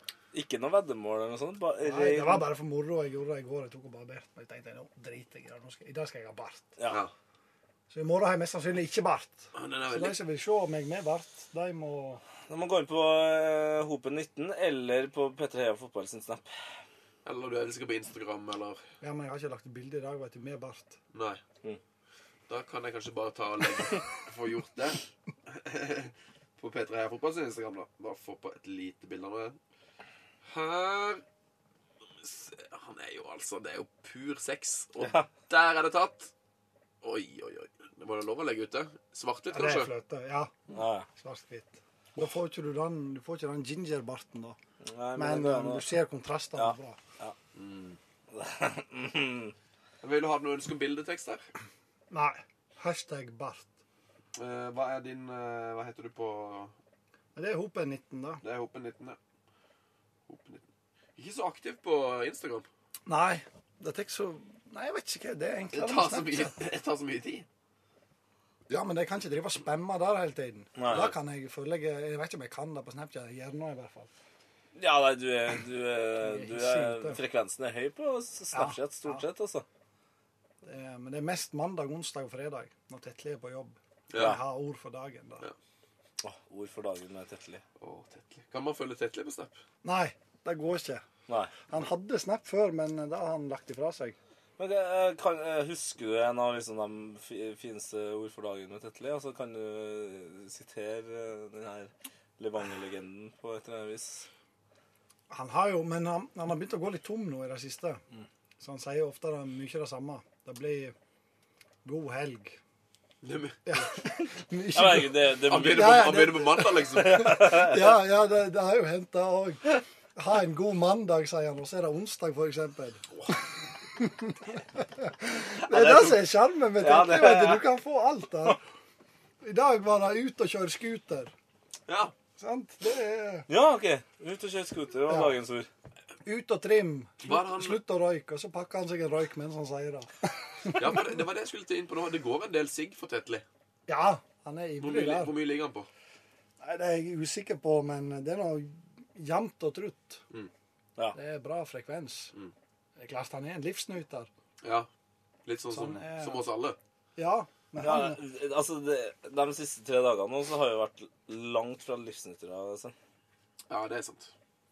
D: Ikke noe veddemål eller noe sånt. Bare,
E: Nei, Det var bare for moro jeg gjorde det i går. Jeg tok og barberte meg. Jeg tenkte nå driter jeg i det. Nå skal- I dag skal jeg ha bart.
C: Ja.
D: Ja.
E: Så i morgen har jeg mest sannsynlig ikke bart.
C: Ja, Den er
E: Så de
C: veldig...
E: som vil se meg med bart, de må
D: Da må man gå inn på eh, Hopen19 eller på P3 Heia Fotball sin snap.
C: Eller du er sikkert på Instagram, eller...
E: Ja, men jeg har ikke lagt ut bilde i dag, vet du, med bart.
C: Nei.
E: Mm.
C: Da kan jeg kanskje bare ta og legge... Få gjort det. på P3 Heia Fotball sin Instagram, da. Bare få på et lite bilde av det. Her... Se, Han er jo altså... Det er jo pur sex. Og
D: Ja.
C: der er det tatt. Oi, oi, oi. Det var det lov å legge ut det. Svart ut,
E: Ja, det er
C: kanskje?
E: fløte. Ja,
D: Ja, ja.
E: svart-hvitt. Da får ikke du den, du får ikke den gingerbarten, da.
D: Nei, det
E: Men
D: går an
E: um,
D: å-
E: du ser kontrastene
D: Ja.
E: bra.
C: Vil du ha noen ønske om bildetekst her?
E: Nei. Hashtag bart.
C: Eh, hva er din eh, Hva heter du på
E: Men det er hopen 19, da.
C: Det er Hopen 19, ja. Hopen 19. Ikke så aktiv på Instagram.
E: Nei. Det tar ikke så Nei, jeg vet ikke hva det er
C: Det
E: egentlig.
C: tar så mye, det tar så mye tid.
E: Ja, men jeg kan ikke drive og spamme der hele tiden.
D: Nei.
E: Da kan jeg følge Jeg jeg vet ikke om jeg kan det på Snapchat. Jeg gjør nå i hvert fall.
D: Ja, nei, du er, du er, du er
E: Sinte.
D: Frekvensen er høy på Snapchat, stort sett, altså.
E: Det er, men det er mest mandag, onsdag og fredag når Tetle er på jobb.
C: Ja.
E: Jeg har ord for dagen, da.
C: Ja.
D: Åh, ord for dagen med Tetteli.
C: Å, Tetley. Kan man følge Tetley på Snap?
E: Nei, det går ikke.
D: Nei.
E: Han hadde Snap før, men det har han lagt ifra seg.
D: Men eh, kan, eh, husker du en av liksom, de fi- fineste ord for dagen med Tetteli? Altså, kan du eh, sitere eh, den her Levanger-legenden på et eller annet vis?
E: Han har jo, men han, han har begynt å gå litt tom nå i det siste. Så han sier ofte det, mye det samme. Det blir god helg.
C: Det er mye-
E: Mye
D: Ja, men, det, det,
C: Han
D: det,
C: begynner på, han begynner på mandag, liksom.
E: Ja, ja det, det har jo hendt, det òg. Ha en god mandag, sier han, og så er det onsdag, f.eks. Det er det som er sjarmen med
D: Ja,
E: Tetle.
D: det-
E: vet Du Du kan få alt der. I dag var det ut og kjøre scooter.
C: Ja.
E: Sant? Det er
D: ja, OK. Ut og kjøre scooter var
E: Ja.
D: dagens ord.
E: ut og trim.
C: Var han-
E: Slutt, slutt å røyke. Og så pakker han seg en røyk mens han sier det.
C: ja for det, det var det jeg skulle til inn på nå. Det går en del sigg for Tetley.
E: Ja, han er
C: Hvor,
E: ivrig
C: mye-
E: der.
C: hvor mye ligger han på?
E: Nei, Det er jeg usikker på, men det er noe jevnt og trutt.
D: Mm. Ja. Mm.
E: Det er bra frekvens. Det er klart han er en livsnyter.
C: Ja. Litt sånn som,
E: Sånn er-
C: som oss alle.
E: Ja, men
D: Ja,
E: han,
D: altså, det, de siste tre dagene nå så har jeg jo vært langt fra livsnytter. Altså.
C: Ja, det er sant.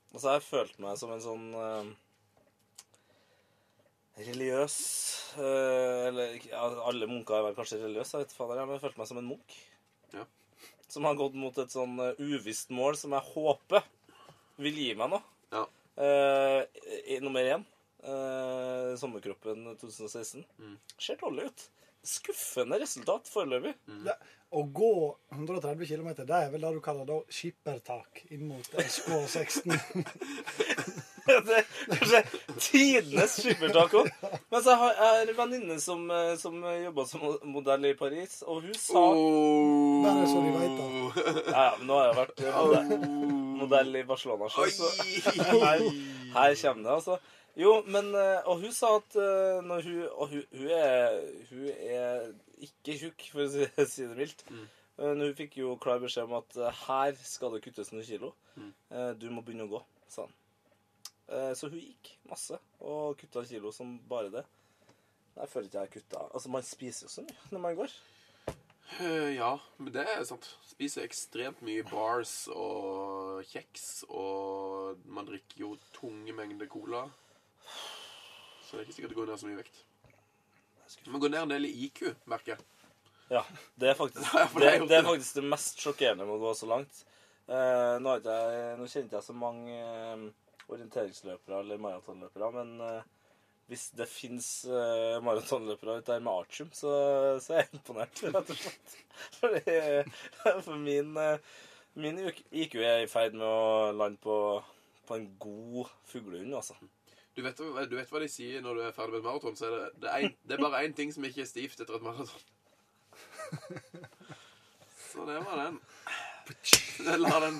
D: Og så har jeg følt meg som en sånn eh, religiøs eh, Eller ikke- ja, alle munker er vel kanskje religiøse, jeg vet faen jeg, men jeg følte meg som en munk.
C: Ja.
D: Som har gått mot et sånn eh, uvisst mål som jeg håper vil gi meg noe.
C: Ja.
D: Eh, i- nummer én, eh, sommerkroppen 2016,
C: Mm.
D: ser dårlig ut. Skuffende resultat foreløpig.
E: det, å gå 130 km, det er vel det du kaller da skippertak inn mot SK16.
D: det er kanskje tidenes skippertaco. Men så har jeg har en venninne som, eh, som jobba som modell i Paris, og hun sa
C: Oh.
E: Bare så de vet
D: Ja, ja, men nå har jeg vært eh, modell, modell i Barcelona sjøl, så her, her kommer det, altså. Jo, men eh, Og hun sa at eh, når hun Og hun, hun, er, hun er ikke tjukk, for å si, si det mildt. Eh, Men hun fikk jo klar beskjed om at eh, her skal det kuttes noen kilo. Eh, Du må begynne å gå, sa han. Eh, Så hun gikk masse og kutta kilo som bare det. Jeg føler ikke jeg har kutta Altså, man spiser jo så mye når man går.
C: Eh, Ja, men det er sant. Spiser ekstremt mye bars og kjeks, og man drikker jo tunge mengder cola. Så det er ikke sikkert det går ned så mye vekt. Man går ned en del i IQ, merker jeg.
D: Ja, det er faktisk
C: Ja, for det
D: det,
C: er jo-
D: det er faktisk det mest sjokkerende med å gå så langt. Eh, nå, har ikke jeg, nå kjente jeg så mange eh, orienteringsløpere eller maratonløpere, men eh, hvis det fins eh, maratonløpere ute der med artium, så, så er jeg imponert, rett og slett. Fordi, for min, eh, min IQ er i ferd med å lande på, på en god fuglehund, altså.
C: Du vet, du vet hva de sier når du er ferdig med et maraton? Så er det, det, er en, det er bare én ting som ikke er stivt etter et maraton. Så det var den. La den,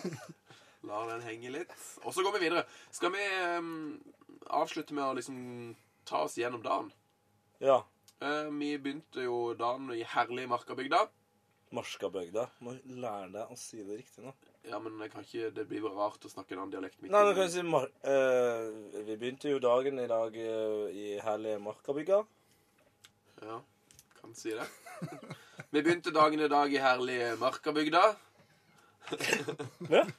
C: la den henge litt. Og så går vi videre. Skal vi ehm, avslutte med å liksom ta oss gjennom dagen?
D: Ja.
C: Eh, vi begynte jo dagen i herlige Markabygda.
D: Marskabygda. Må lære deg å si det riktig nå.
C: Ja, men jeg kan ikke, det blir vel rart å snakke en annen dialekt midt
D: Nei, men
C: i-
D: kan jeg si mar eh, Vi begynte jo dagen i dag eh, i herlige Markabygda.
C: Ja, kan si det. Vi begynte dagen i dag i herlige Markabygda.
D: Ja.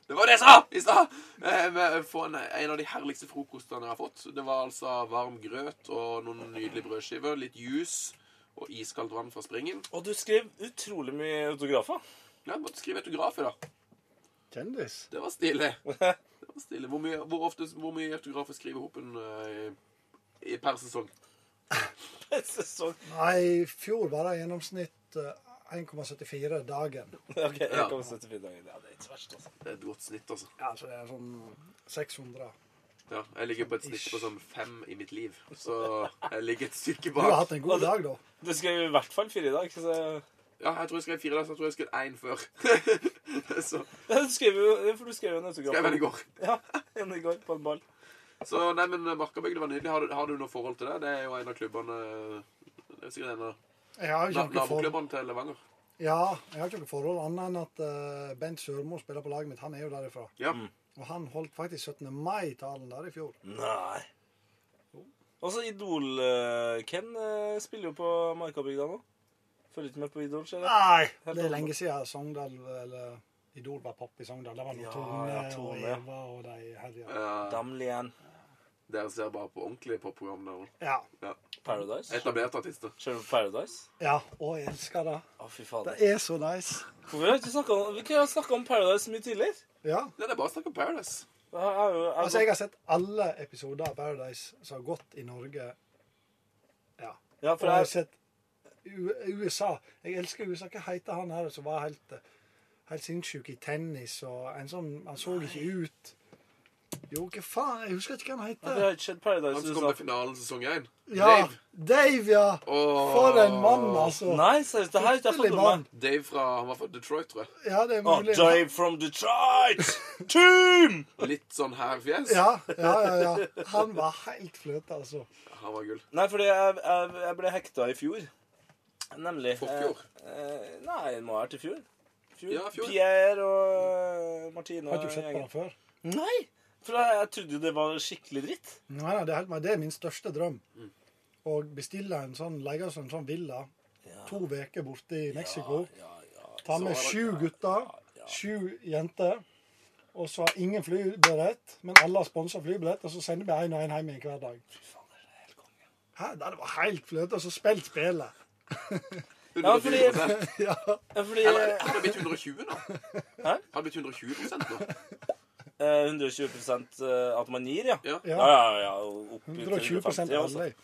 C: Det var det jeg sa i stad! Eh, vi får En en av de herligste frokostene jeg har fått. Det var altså varm grøt og noen nydelige brødskiver, litt juice og iskaldt vann fra springen.
D: Og du skrev utrolig mye autografer.
C: Ja, jeg måtte skrive autograf i dag.
E: Kjendis.
C: Det var stilig. Det var stilig. Hvor mye, hvor ofte, hvor mye autografer skriver Hopen eh, i, i per sesong?
D: En sesong.
E: Nei, i fjor var det gjennomsnitt eh, 1,74 dagen.
D: Ok, jeg
C: Ja.
D: kan sette fint dagen. Ja, det er ikke så verst, altså.
C: Det er et godt snitt, altså.
E: Ja, så det er sånn 600.
C: Ja, jeg ligger på et snitt på sånn fem i mitt liv. Så jeg ligger et stykke
E: Du har
C: bak.
E: hatt en god dag, da.
D: Du skrev i hvert fall fire i dag, så
C: Ja, jeg tror jeg skrev fire der, så jeg tror jeg skrev én før. så
D: ja, Du skrev jo ja, For du skrev jo en autograf.
C: skrev jeg den i går.
D: Ja, en i går på en ball.
C: Så nei, men Markabygd var nydelig. Har du, har du noe forhold til det? Det er jo en av klubbene eh, Det er sikkert en av
E: Jeg har
C: na
E: ikke noe forhold,
C: naboklubbene til Levanger.
E: ja, jeg har ikke noe forhold annet enn at eh, Bent Sørmo spiller på laget mitt. Han er jo derifra.
C: Ja.
E: Og han holdt faktisk 17. mai-talen der i fjor.
D: Mm. Nei. Også Idol eh, Ken eh, spiller jo på Markabygda nå. Følger ikke med på Idol, ser jeg.
E: Nei! Det er lenge siden Sogndal eller Idol var pop i Sogndal. Det var noe
D: Ja,
E: Tone
D: ja, Tone,
E: og
D: ja.
E: Eva og de herja.
C: Eh,
D: Damli igjen.
C: dere ser bare på ordentlige popprogram der nå.
E: Ja.
D: Paradise.
C: Etablerte artister.
D: Ser du på Paradise?
E: ja. Og jeg elsker det.
D: Å, fy fader.
E: Det er så nice.
D: Hvorfor har vi ikke snakket om, vi kunne ha snakket om Paradise så mye tidligere.
E: Ja.
C: Nei, det er bare å snakke om Paradise.
D: Jeg har jo, jeg
E: Altså, jeg har sett alle episoder av Paradise som har gått i Norge. Ja.
D: ja,
E: Og
D: for
E: jeg har
D: jeg,
E: sett U- USA. Jeg elsker USA. Hva heter han her som var helt, helt sinnssyk i tennis og en sånn Han så ikke ut. Jo, hva faen? Jeg husker ikke hva han
D: jeg har
E: heter.
D: ikke sett Paradise
C: Han som
D: i
C: kom til
D: USA.
C: finalen sesong én.
E: Ja,
C: Dave.
E: Dave, ja.
C: Åh.
E: For en mann, altså.
D: Nei, seriøst, det her har ikke jeg fått
E: Fryktelig
D: med meg.
E: mann.
C: Dave fra Han var fra Detroit, tror jeg.
E: Ja, det er
D: Å,
E: mulig.
D: Dave from Detroit! Team!
C: Litt sånn her fjes.
E: Ja, ja, ja, ja. Han var helt fløte, altså.
C: Han var gull.
D: Nei, fordi jeg, jeg, jeg ble hekta i fjor. Nemlig.
C: Forfjor.
D: Eh, eh, nei, det må ha vært i fjor. fjor.
C: Ja, fjor.
D: Pierre og eh, Martine
E: Har
D: og
E: du sett på
D: gjengen.
E: den før?
D: Nei! For jeg, jeg trodde jo det var skikkelig dritt.
E: Nei, nei, det er, helt, meg. det er min største drøm. Å bestille en sånn, leie oss en sånn villa to uker borte i Mexico.
D: Ja, ja.
E: Ta med sju gutter, sju jenter. Og så har ingen flybillett, men alle har sponsa flybillett. Og så sender vi én og én hjem igjen hver dag. Hæ, det var helt fløte. Og så spilt spillet.
C: 120
D: Ja, fordi,
E: Ja.
D: ja, fordi
C: Eller hadde det blitt 120 nå?
D: Hæ?
C: Hadde det blitt 120 nå?
D: eh, 120 eh, at man gir, ja.
C: Ja.
D: Ja,
E: ja.
D: ja, ja. Opp til
E: 120
D: 150, altså.
E: alle.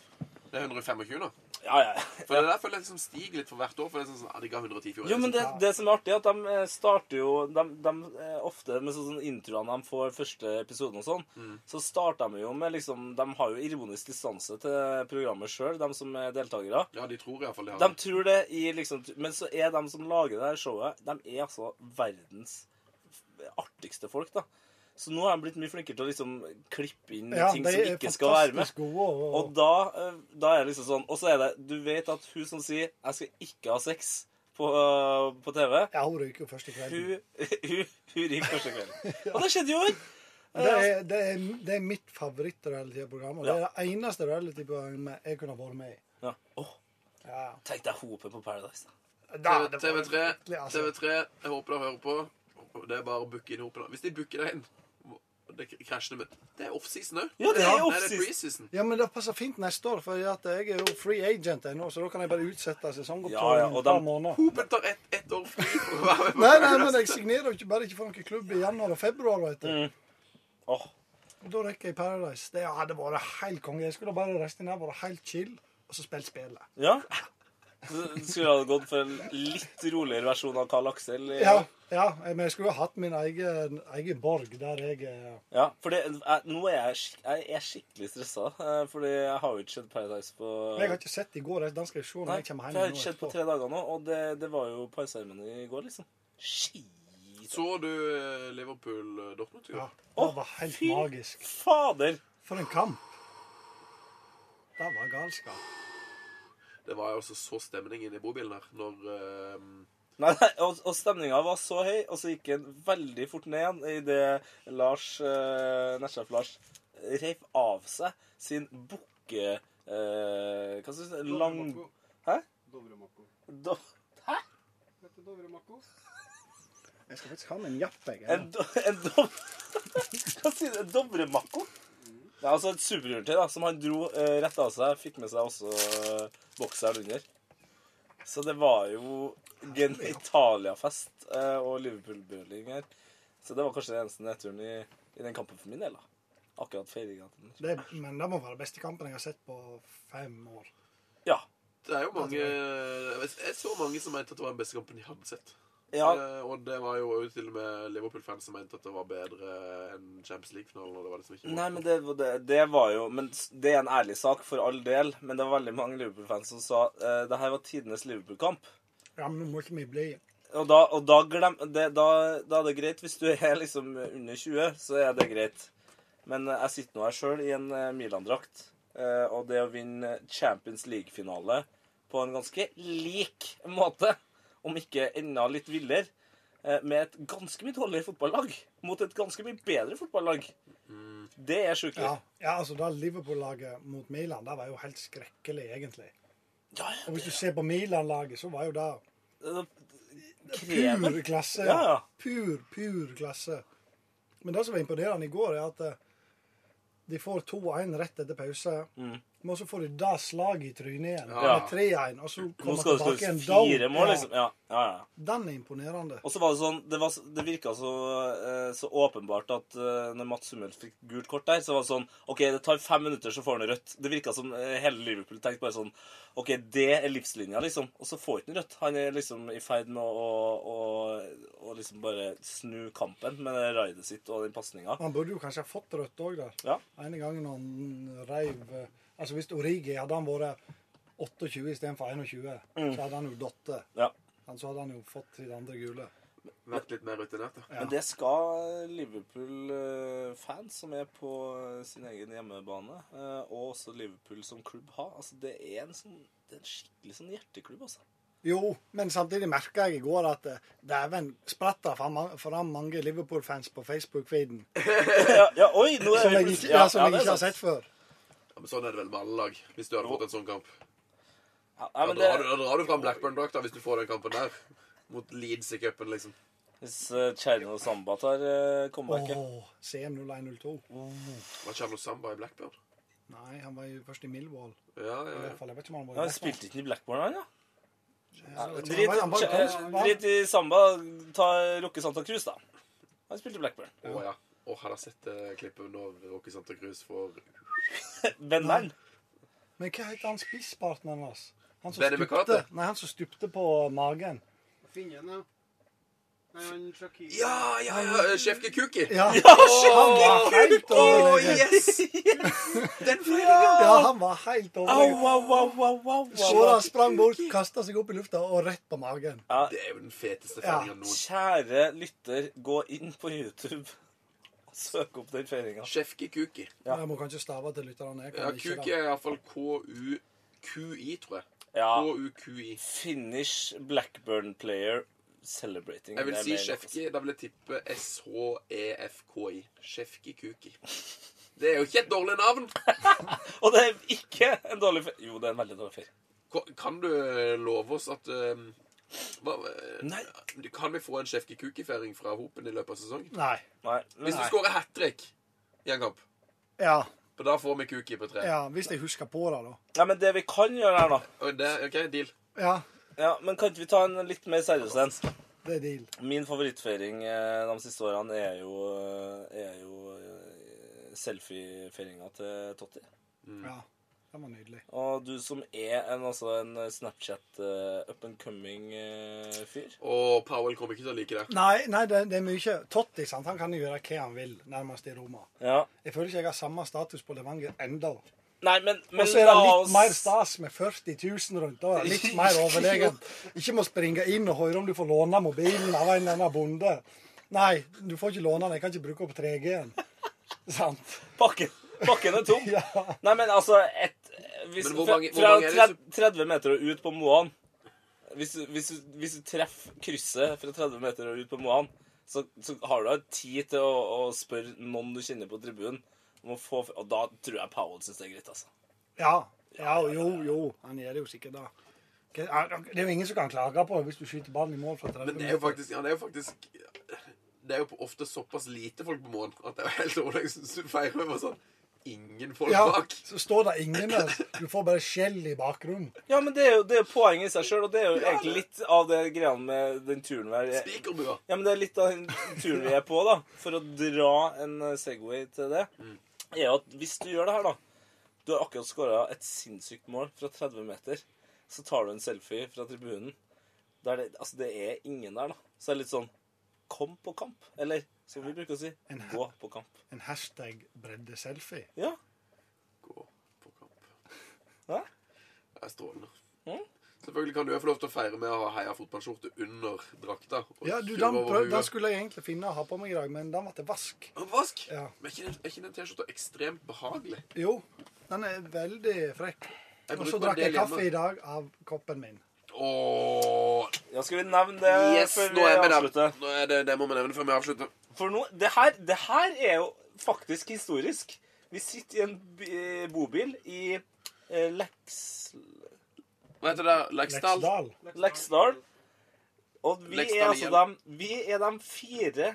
C: Det er 125 nå.
D: Ja, ja.
C: For det der føler jeg liksom stiger litt for hvert år. For det er sånn sånn, ja, de ga 110 i fjor.
D: Jo, men det, det som er artig, er at de eh, starter jo de, de, eh, ofte med sånn, sånn introene de får første episoden og sånn, så starter de jo med liksom De har jo ironisk distanse til programmet sjøl, de som er deltakere.
C: Ja, de tror iallfall de har
D: De tror det i liksom Men så er de som lager det her showet, de er altså verdens artigste folk, da. Så nå er de blitt mye flinkere til å liksom klippe inn
E: Ja,
D: ting
E: de
D: som
E: er
D: ikke skal være med.
E: fantastisk gode. Og,
D: Og da, eh, da er det liksom sånn Og så er det Du vet at hun som sier 'Jeg skal ikke ha sex' på, eh, på TV
E: ja, hun ryker jo først i kvelden.
D: Hun, hun, hun gikk første kvelden. Og det skjedde jo!
E: Det er, det er, det er mitt favoritt-reality-program, og det er det eneste reality-programmet jeg kunne ha vært med i.
D: Ja. Åh,
E: Ja.
D: tenk deg hopet på Paradise. da.
E: Da, det var
C: TV3,
E: virkelig, altså.
C: TV3, jeg håper dere hører på. Det er bare å booke inn Hopedal. Hvis de booker deg inn og det krasjer med Det er offseason òg.
D: Ja, det er
C: Nei, det
D: off-season.
C: er preseason.
E: Ja, men det passer fint neste år, for at jeg er jo free agent ennå, så da kan jeg bare utsette
D: Ja, ja,
E: sesongopptråden
D: og
E: et par
D: de-
E: måneder.
C: Hopen tar ett ett år fri for å være med.
E: Nei, nei, men jeg signerer jo ikke bare ikke for noen klubb i januar og februar, vet du.
D: Mm. Åh,
E: Og da rekker jeg Paradise. Det hadde vært helt konge. Jeg skulle bare reist inn her, vært helt chill, og så spilt spillet.
D: Ja. Så Skulle ha gått for en litt roligere versjon av Karl Aksel. i-
E: Ja, ja, eh, men jeg skulle jo hatt min egen, egen borg der jeg eh, er
D: Ja, for det, jeg, nå er jeg, skik jeg er skikkelig stressa, eh, Fordi jeg har jo ikke sett Paradise på
E: Jeg har ikke sett det i går, den skal jeg se når
D: Nei,
E: jeg kommer
D: for
E: hjem.
D: jeg har
E: nå
D: ikke sett på
E: etterpå.
D: tre dager nå, og det, det var jo parseremoni i går, liksom. Shit.
C: Så du eh, Liverpool-Dortmund?
E: Ja,
C: Ja.
E: det var helt
D: fy
E: magisk.
D: Fader!
E: For en kamp. Det var galskap.
C: Det var jo også så stemning inne i bobilen her når eh,
D: Nei, nei, og, og stemninga var så høy, og så gikk den veldig fort ned igjen idet Lars eh, Nesjef Lars reiv av seg sin bukke... Eh, hva skal vi si Lang...
F: Dovremakko.
D: Hæ?
F: Dovremakko.
D: Do,
F: Heter Dovremakko.
E: Jeg skal faktisk ha med en japp, jeg.
D: en, do, en do, Hva sier du? En Dovremakko? Det er altså et superhjultøy da, som han dro eh, rett av seg. Fikk med seg også eh, bokseren under. Så det var jo gen- Italia-fest eh, og Liverpool-bøling her. Så det var kanskje den eneste nedturen i, i den kampen for min del. da. Akkurat feiringa. til den.
E: Det, men det må være beste kampen jeg har sett på fem år.
D: Ja.
C: Det er jo mange Jeg jeg så mange som mente at det var den beste kampen de hadde sett.
D: ja.
C: Eh, og det var jo også til og med Liverpool-fans som mente at det var bedre enn Champions League-finalen. og det var liksom ikke
D: Nei, men det, var- det, det var jo men s- Det er en ærlig sak, for all del. Men det var veldig mange Liverpool-fans som sa eh, det her var tidenes Liverpool-kamp.
E: Ja, men nå må ikke vi bli
D: Og da, og da, glem, det, da, da er det greit. Hvis du er liksom under 20, så er det greit. Men eh, jeg sitter nå her sjøl i en eh, Milan-drakt. eh, Og det å vinne Champions League-finale på en ganske lik måte, om ikke enda litt villere, eh, med et ganske mye dårligere fotballag mot et ganske mye bedre fotballag, det er sjukelig.
E: Ja, ja altså da Liverpool-laget mot Milan, det var jo helt skrekkelig, egentlig.
D: Ja, ja,
E: Og hvis du ser på Milan-laget, så var jo det
D: det-
E: pur
D: Kremen.
E: klasse.
D: Ja, ja.
E: Pur, pur klasse. Men det som var imponerende i går, er at eh, de får 2-1 rett etter pause.
D: Mm.
E: Men så får de det slaget i trynet igjen.
C: Ja.
E: Med 3-1, og så
D: Nå
E: kommer
D: skal det
E: tilbake igjen.
D: skåres fire
E: down.
D: mål,
E: Ja,
D: liksom. Ja, ja, ja.
E: Den er imponerende.
D: Og så var det sånn, det, var, det virka så, eh, så åpenbart at eh, når Mats Hummels fikk gult kort der, så var det sånn OK, det tar fem minutter, så får han rødt. Det virka som eh, hele Liverpool tenkte bare sånn OK, det er livslinja, liksom. Og så får ikke han rødt. Han er liksom i ferd med å, å, å, å liksom bare snu kampen med det raidet sitt og den pasninga.
E: Han burde jo kanskje ha fått rødt òg der.
D: Ja.
E: ene gangen han reiv eh, Altså hvis Origi hadde han vært 28 istedenfor 21, så hadde han jo datt.
D: Mm. ja.
E: Men Så hadde han jo fått sitt andre gule.
C: Vært litt mer rutinert, da.
D: Men det skal eh, Liverpool-fans som er på eh, sin egen hjemmebane, eh, og også Liverpool som klubb, ha. Altså, det er en, sånn, det er en skikkelig sånn hjerteklubb, altså.
E: Jo, men samtidig merka jeg i går at eh, dæven spratt det fram fram mange Liverpool-fans på Facebook-feeden
D: ja, ja, oi, nå er
E: som
D: vi
E: jeg ikke,
D: plutselig-
E: ja,
D: ja,
E: som jeg
D: det er
E: ikke har
D: sant.
E: sett før.
C: Ja, men sånn er det vel med alle lag. Hvis du hadde fått en sånn kamp.
D: Ja, nei,
C: Da
D: men
C: drar du,
D: det,
C: da drar du fram Blackburn-drakta hvis du får den kampen der. Mot Leeds i cupen, liksom.
D: hvis eh, Cherno Samba tar eh, comebacket
E: Åh, CM0102.
C: Var Charlo Samba i Blackburn?
E: Nei, han var jo først i Millwall.
C: Ja,
E: I
C: ja, ja.
E: hvert fall, jeg vet ikke om han var
D: ja,
E: i
D: Han spilte ikke i Blackburn, han, ja?
E: Blackburn.
D: Drit,
E: Han var- han var- han
D: eh,
E: var-
D: drit i Samba. Ta Rokke Santa Cruz, da. Han spilte i Blackburn.
C: Å, ja. Å, hadde jeg sett eh, klippet når Rocky Santa Cruz får
D: Venneren.
E: Men hva heter han spisspartneren hans? Han som,
C: Benny
E: stupte,
C: McCarthy?
E: nei, han som stupte på magen.
F: Finnen, ja. Nei, han Shakir.
C: Ja, ja, ja. Sjefke Kuki.
E: Ja,
C: Åh,
E: var helt
C: Åh,
E: overlegen.
C: yes! Den feilinga!
E: Ja, han var helt
D: Au,
E: overlegen.
D: au, au, au, au, au.
E: Shora sprang bort, kasta seg opp i lufta og rett på magen.
C: Det er jo den feteste
E: Ja.
C: feilinga noen
D: Kjære lytter, gå inn på YouTube og søk opp den feiringa.
C: Sjefke Kuki.
D: Ja.
E: Jeg må kanskje stave til lytterne. Jeg
C: Ja,
E: kan ikke
C: Kuki
E: det.
C: er iallfall KUQI, tror jeg.
D: Ja.
C: KUQI.
D: Finish Blackburn player celebrating.
C: Jeg vil
D: Det er
C: si
D: mer enn nok.
C: Sjefki. Da vil jeg tippe E SHEFKI. Sjefki Kuki. Det er jo ikke et dårlig navn!
D: Og det er ikke en dårlig feir. Jo, det er en veldig dårlig feir.
C: Ko- Kan du love oss at um, hva, eh,
D: Nei.
C: Kan vi få en Sjefki Kuki-feiring fra Hopen i løpet av sesongen?
E: Nei.
D: Nei.
C: Hvis
D: Men,
C: du skårer hat trick i en kamp,
E: Ja,
C: for da får vi Kuki på tre.
E: ja, hvis jeg husker på det, da.
D: nei, men det vi kan gjøre her, da
C: Og det, OK, deal.
E: Ja,
D: ja, Men kan ikke vi ta en litt mer seriøs en?
E: det er deal.
D: Min favorittfeiring eh, de siste årene er jo, eh, er jo eh, selfiefeiringa til Totti.
E: Ja, det var nydelig.
D: Og du som er en, altså en Snapchat eh, up and coming eh, fyr
C: Og Powell kommer ikke til å like det.
E: Nei, nei det, det er mye. Totti sant? han kan jo gjøre hva han vil, nærmest i Roma.
D: Ja.
E: Jeg føler ikke jeg har samme status på Levanger enda.
D: Nei, men, men
E: Og så er det
D: la
E: litt
D: oss-
E: mer stas med 40 000 rundt. Da. Litt mer overlegen. Ikke må springe inn og høre om du får låne mobilen av en eller annen bonde. Nei, du får ikke låne den. Jeg kan ikke bruke opp 3G-en. Sant?
D: Pakken, pakken er tom.
E: Ja.
D: Nei, men altså et, hvis,
C: Men hvor
D: fra-
C: mange- hvor
D: Fra
C: mange er det som-
D: tre- 30 meter og ut på Moan hvis, du- hvis, du- hvis du treffer krysset fra 30 meter og ut på Moan, så, så har du da tid til å, å spørre noen du kjenner på tribunen om å få Og da tror jeg Powell syns det er greit, altså.
E: Ja. ja. Jo, jo. Han gjør det jo sikkert da. Det er jo ingen som kan klage på det hvis du skyter ballen i mål fra 30
C: Men det er jo
E: meter.
C: faktisk, ja, det er jo faktisk Det er jo ofte såpass lite folk på månen at det er jo helt overlegent. Jeg synes du feirer med sånn Ingen folk
E: Ja,
C: bak.
E: så står det ingen der. Du får bare skjell i bakgrunnen.
D: Ja, men det er jo, det er jo poenget i seg sjøl, og det er jo egentlig litt av det greia med den turen her.
C: Spikerbua.
D: Ja, men det er litt av den turen vi er på, da. For å dra en eh, Segway til det.
C: Mm.
D: Er jo at hvis du gjør det her, da Du har akkurat skåra et sinnssykt mål fra 30 meter. Så tar du en selfie fra tribunen. Der det, altså, det er ingen der, da. Så det er litt sånn Kom på kamp. Eller som vi bruker å si
E: En-
D: Gå på kamp.
E: En hashtag breddeselfie.
D: Ja.
C: Gå på kamp.
D: Hæ?
C: Det er strålende.
D: Mm.
C: Selvfølgelig kan du jo få lov til å feire med å ha heia fotballskjorte under drakta. og
E: Ja, du,
C: kjøre
E: den,
C: over
E: prøv, den
C: huet.
E: skulle jeg egentlig finne og ha på meg i dag, men den ble til vask.
C: Og Vask!
E: Ja.
C: Men er ikke den- er ikke den T-skjorta ekstremt behagelig?
E: Jo, den er veldig frekk.
C: Jeg
E: Og
C: bruker
E: så
C: en
E: drakk jeg
C: del hjemme.
E: kaffe i dag av koppen min.
C: Åh,
D: ja, skal vi nevne det
C: yes,
D: før
C: nå
D: vi
C: er vi
D: avslutter?
C: der. Nå er det, det må vi nevne før vi avslutter.
D: For nå, det her, det her er jo faktisk historisk. Vi sitter i en b eh, bobil i eh, Leks...
C: Hva heter det? Leksdal?
E: Leksdal.
D: Leksdal. Og vi er,
C: Leksdal
D: altså
C: igjen.
D: de, vi er de fire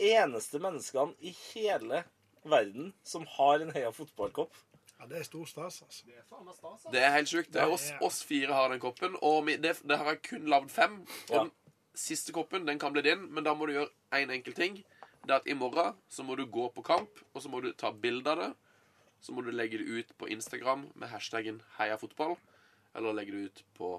D: eneste menneskene i hele verden som har en heia fotballkopp.
E: Ja, det er stor stas, altså.
F: Det er faen meg stas, da.
C: Det er helt sjukt. Det er
E: Det
C: oss,
E: er-
C: oss fire har den koppen, og vi, det, det har jeg kun lagd fem. Og
D: Ja.
C: den siste koppen den kan bli din, men da må du gjøre én enkel ting. Det er at i morgen så må du gå på kamp, og så må du ta bilde av det. Så må du legge det ut på Instagram med hashtaggen heiafotball. Eller legge det ut på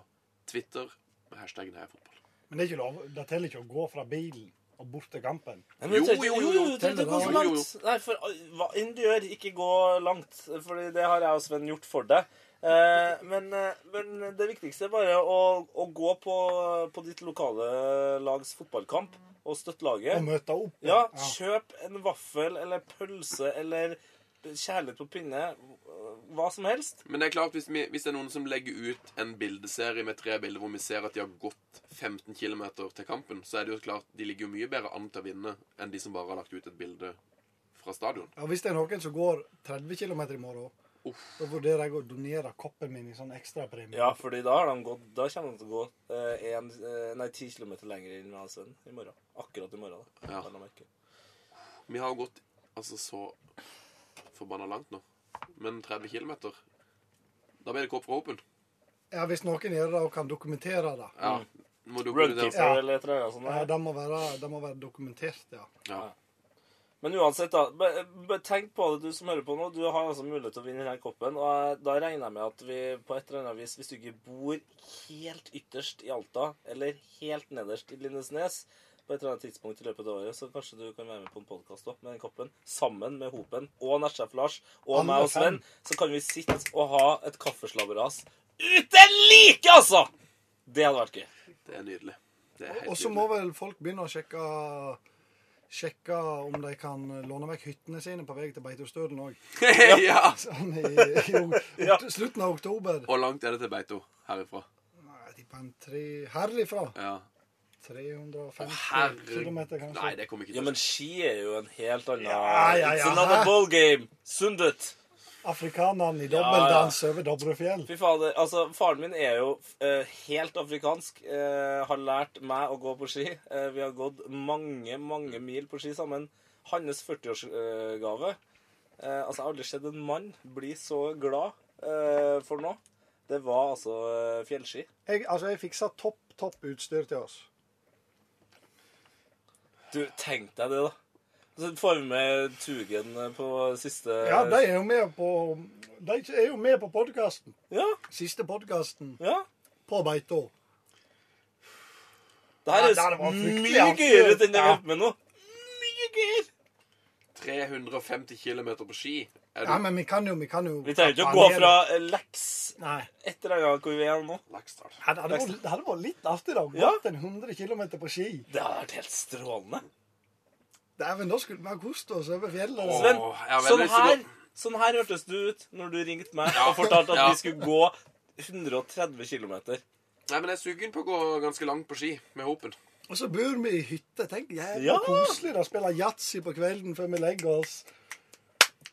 C: Twitter med hashtaggen heiafotball.
E: Men det er ikke lov. Det teller ikke å gå fra bilen og bort til kampen.
D: Nei, men
C: Jo,
D: trenger-
C: jo, jo,
D: jo,
C: jo,
D: du trenger ikke gå så
C: jo, jo.
D: langt. Nei, for uh, hva enn du gjør, ikke gå langt. For det har jeg og Sven gjort for deg. Eh, men, eh, men det viktigste er bare å, å gå på, på ditt lokale lags fotballkamp og støtte
E: Og
D: laget.
E: møte opp.
D: Ja, kjøp en vaffel eller pølse eller kjærlighet på pinne. Hva som helst.
C: Men det er klart, hvis, vi, hvis det er noen som legger ut en bildeserie med tre bilder hvor vi ser at de har gått 15 km til kampen, så er det jo klart de ligger jo mye bedre an til å vinne enn de som bare har lagt ut et bilde fra stadion.
E: Ja, hvis det er noen som går 30 km i morgen,
C: Uff.
E: da vurderer jeg å donere koppen min i sånn ekstrapremie.
D: Ja, fordi da, har de gått, da kommer de til å gå eh, en, eh, nei, ti kilometer lenger enn meg og Sven i morgen. Akkurat i morgen. da.
C: Ja.
D: vel å merke.
C: Vi har gått altså så forbanna langt nå. Men 30 km Da blir det kopp fra Open.
E: Ja, hvis noen gjør det og kan dokumentere det.
C: Ja. Må du
D: Rugkeeper
E: Ja.
D: eller et eller annet sånt.
E: Ja,
D: der.
E: det må være, det må være dokumentert, ja.
C: Ja.
D: Men uansett, da. Be, be, tenk på det, du som hører på nå. Du har altså mulighet til å vinne denne koppen. Og jeg, da regner jeg med at vi på et eller annet vis, hvis du ikke bor helt ytterst i Alta, eller helt nederst i Lindesnes på et eller annet tidspunkt i løpet av året, så kanskje du kan være med på en podkast med den koppen. Sammen med Hopen og Nesjef Lars og
E: Alle
D: meg og
E: fem.
D: Sven. Så kan vi sitte og ha et kaffeslabberas uten like, altså! Det hadde vært gøy.
C: Det er nydelig. Det er helt
E: Og så må vel folk begynne å sjekke Sjekke om de kan låne vekk hyttene sine på vei til Beitostølen òg.
C: nydelig. ja.
E: Sånn i, i, ok-
D: Ja.
E: slutten av oktober.
C: Hvor langt er det til Beito herifra?
E: Nei, Jeg tipper en tre Herifra.
C: Ja.
E: 350
C: Herregud.
E: km,
C: Nei,
E: kanskje.
C: det kommer ikke
D: Ja,
C: til
D: men ski er jo en helt annen
E: Ja, ja,
D: It's
E: ja,
D: another
E: hæ?
D: ballgame. Sundet.
E: Afrikanerne i
D: Ja, ja.
E: dobbeldans over Dovrefjell.
D: Fy fader, altså Faren min er jo eh, helt afrikansk. eh, har lært meg å gå på ski. Eh, vi har gått mange, mange mil på ski sammen. Hans 40-årsgave Altså, jeg har aldri sett en mann bli så glad eh, for noe. Det var altså eh, fjellski.
E: Jeg, altså, jeg fiksa topp, topp utstyr til oss.
D: Du, tenk deg det, da. Så får vi med Tugen eh, på siste
E: Ja, de er jo med på De er jo med på podkasten.
D: Ja.
E: Siste podkasten
D: ja.
E: på Beito.
D: Det her
E: Ja,
D: er
E: det her var fryktelig
D: mye
E: artig.
D: gøyere enn det vi
E: Ja.
D: har på med nå. Mye gøyere.
C: å 350 km på ski. Er
E: Ja,
C: du
E: men vi kan jo Vi, kan jo
D: Vi trenger ikke å gå fra eh, leks
E: Nei.
D: et eller annet hvor vi er nå.
C: Lakstad?
E: Ja, Det hadde vært, det hadde vært litt artig, da.
D: Ja.
E: Gått en 100 km på ski.
D: Det hadde vært helt strålende.
E: Dæven, da skulle vi ha kost oss over fjellet.
C: Åh,
D: Sven,
C: jeg har veldig
D: sånn
C: lyst til å-
D: her, sånn her hørtes du ut når du ringte meg og fortalte at
C: Ja.
D: vi skulle gå 130 km.
C: Nei, men jeg er sugen på å gå ganske langt på ski med hopen.
E: Og så bor vi i hytte. Tenk, jævla
D: Ja.
E: koselig da. Spille yatzy på kvelden før vi legger oss.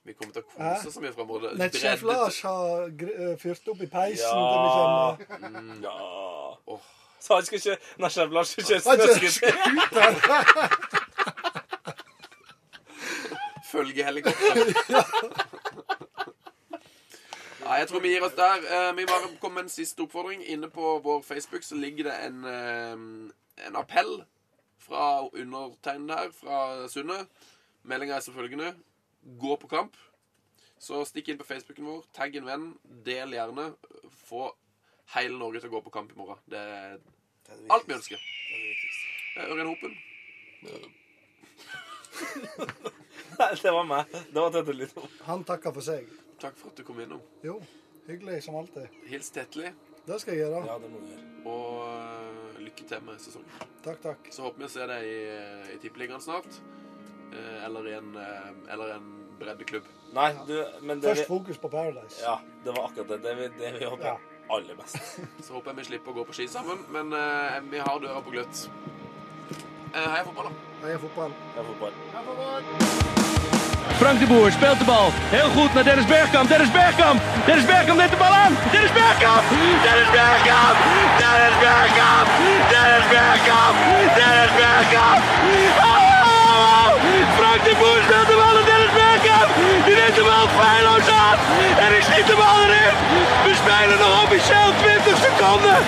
C: Vi kommer til å
E: Hæ?
C: kose oss så mye fremover. Det-
E: Nettsjef
C: bredde-
E: Lars har gr- eh, fyrt opp i peisen
D: Ja.
E: til vi kommer.
D: Ja.
C: Åh.
D: Så han skal kjøre Nei, sjef Lars skal kjøre
E: Han kjører
D: snøscooter.
C: Følgehelikopter. Nei, jeg tror vi gir oss der. Eh, Vi bare kommer med en siste oppfordring. Inne på vår Facebook så ligger det en, eh, en appell fra undertegnede her, fra Sunne. Meldinga er som følgende Gå på kamp. Så stikk inn på Facebooken vår, tagg en venn, del gjerne. Få hele Norge til å gå på kamp i morgen. Det er alt vi ønsker. Eh, Ørjan Hopen.
D: Nei, Det var meg. Det var Tete Lino.
E: Han takker for seg.
C: Takk for at du kom innom.
E: Jo, hyggelig som alltid.
C: Hils Tetli,
E: Det skal jeg gjøre.
D: Ja, det må du gjøre.
C: og eh, lykke til med sesongen.
E: Takk, takk.
C: Så håper vi å se deg i, i Tippeligaen snart. eh, Eller i en, eh, eller en breddeklubb.
D: Nei, du, men det vi,
E: Først fokus på Paradise.
D: Ja, det var akkurat det. Det vi, det vi håper
E: Ja.
D: aller mest.
C: Så håper jeg vi slipper å gå på ski sammen, men eh, vi har døra på gløtt. Eh, Heia fotball, da.
E: Heia fotball.
D: Det er fotball.
A: Frank de Boer speelt de bal. Heel goed naar Dennis Bergkamp. Dennis Bergkamp. Dennis Bergkamp neemt de bal aan. Dennis Bergkamp. Dennis Bergkamp. Dennis Bergkamp. Dennis Bergkamp. Dennis Bergkamp. Oh! Frank de Boer speelt de bal aan Dennis Bergkamp. Die neemt de bal feilloos aan. En is niet de bal erin. We spelen nog officieel 20 seconden.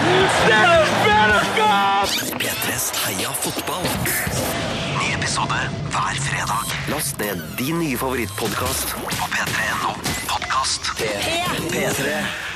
A: Dennis Bergkamp.
B: P3s Heia fotball. Ny episode hver fredag. Last ned din nye favorittpodkast på p3.no podkast. P3.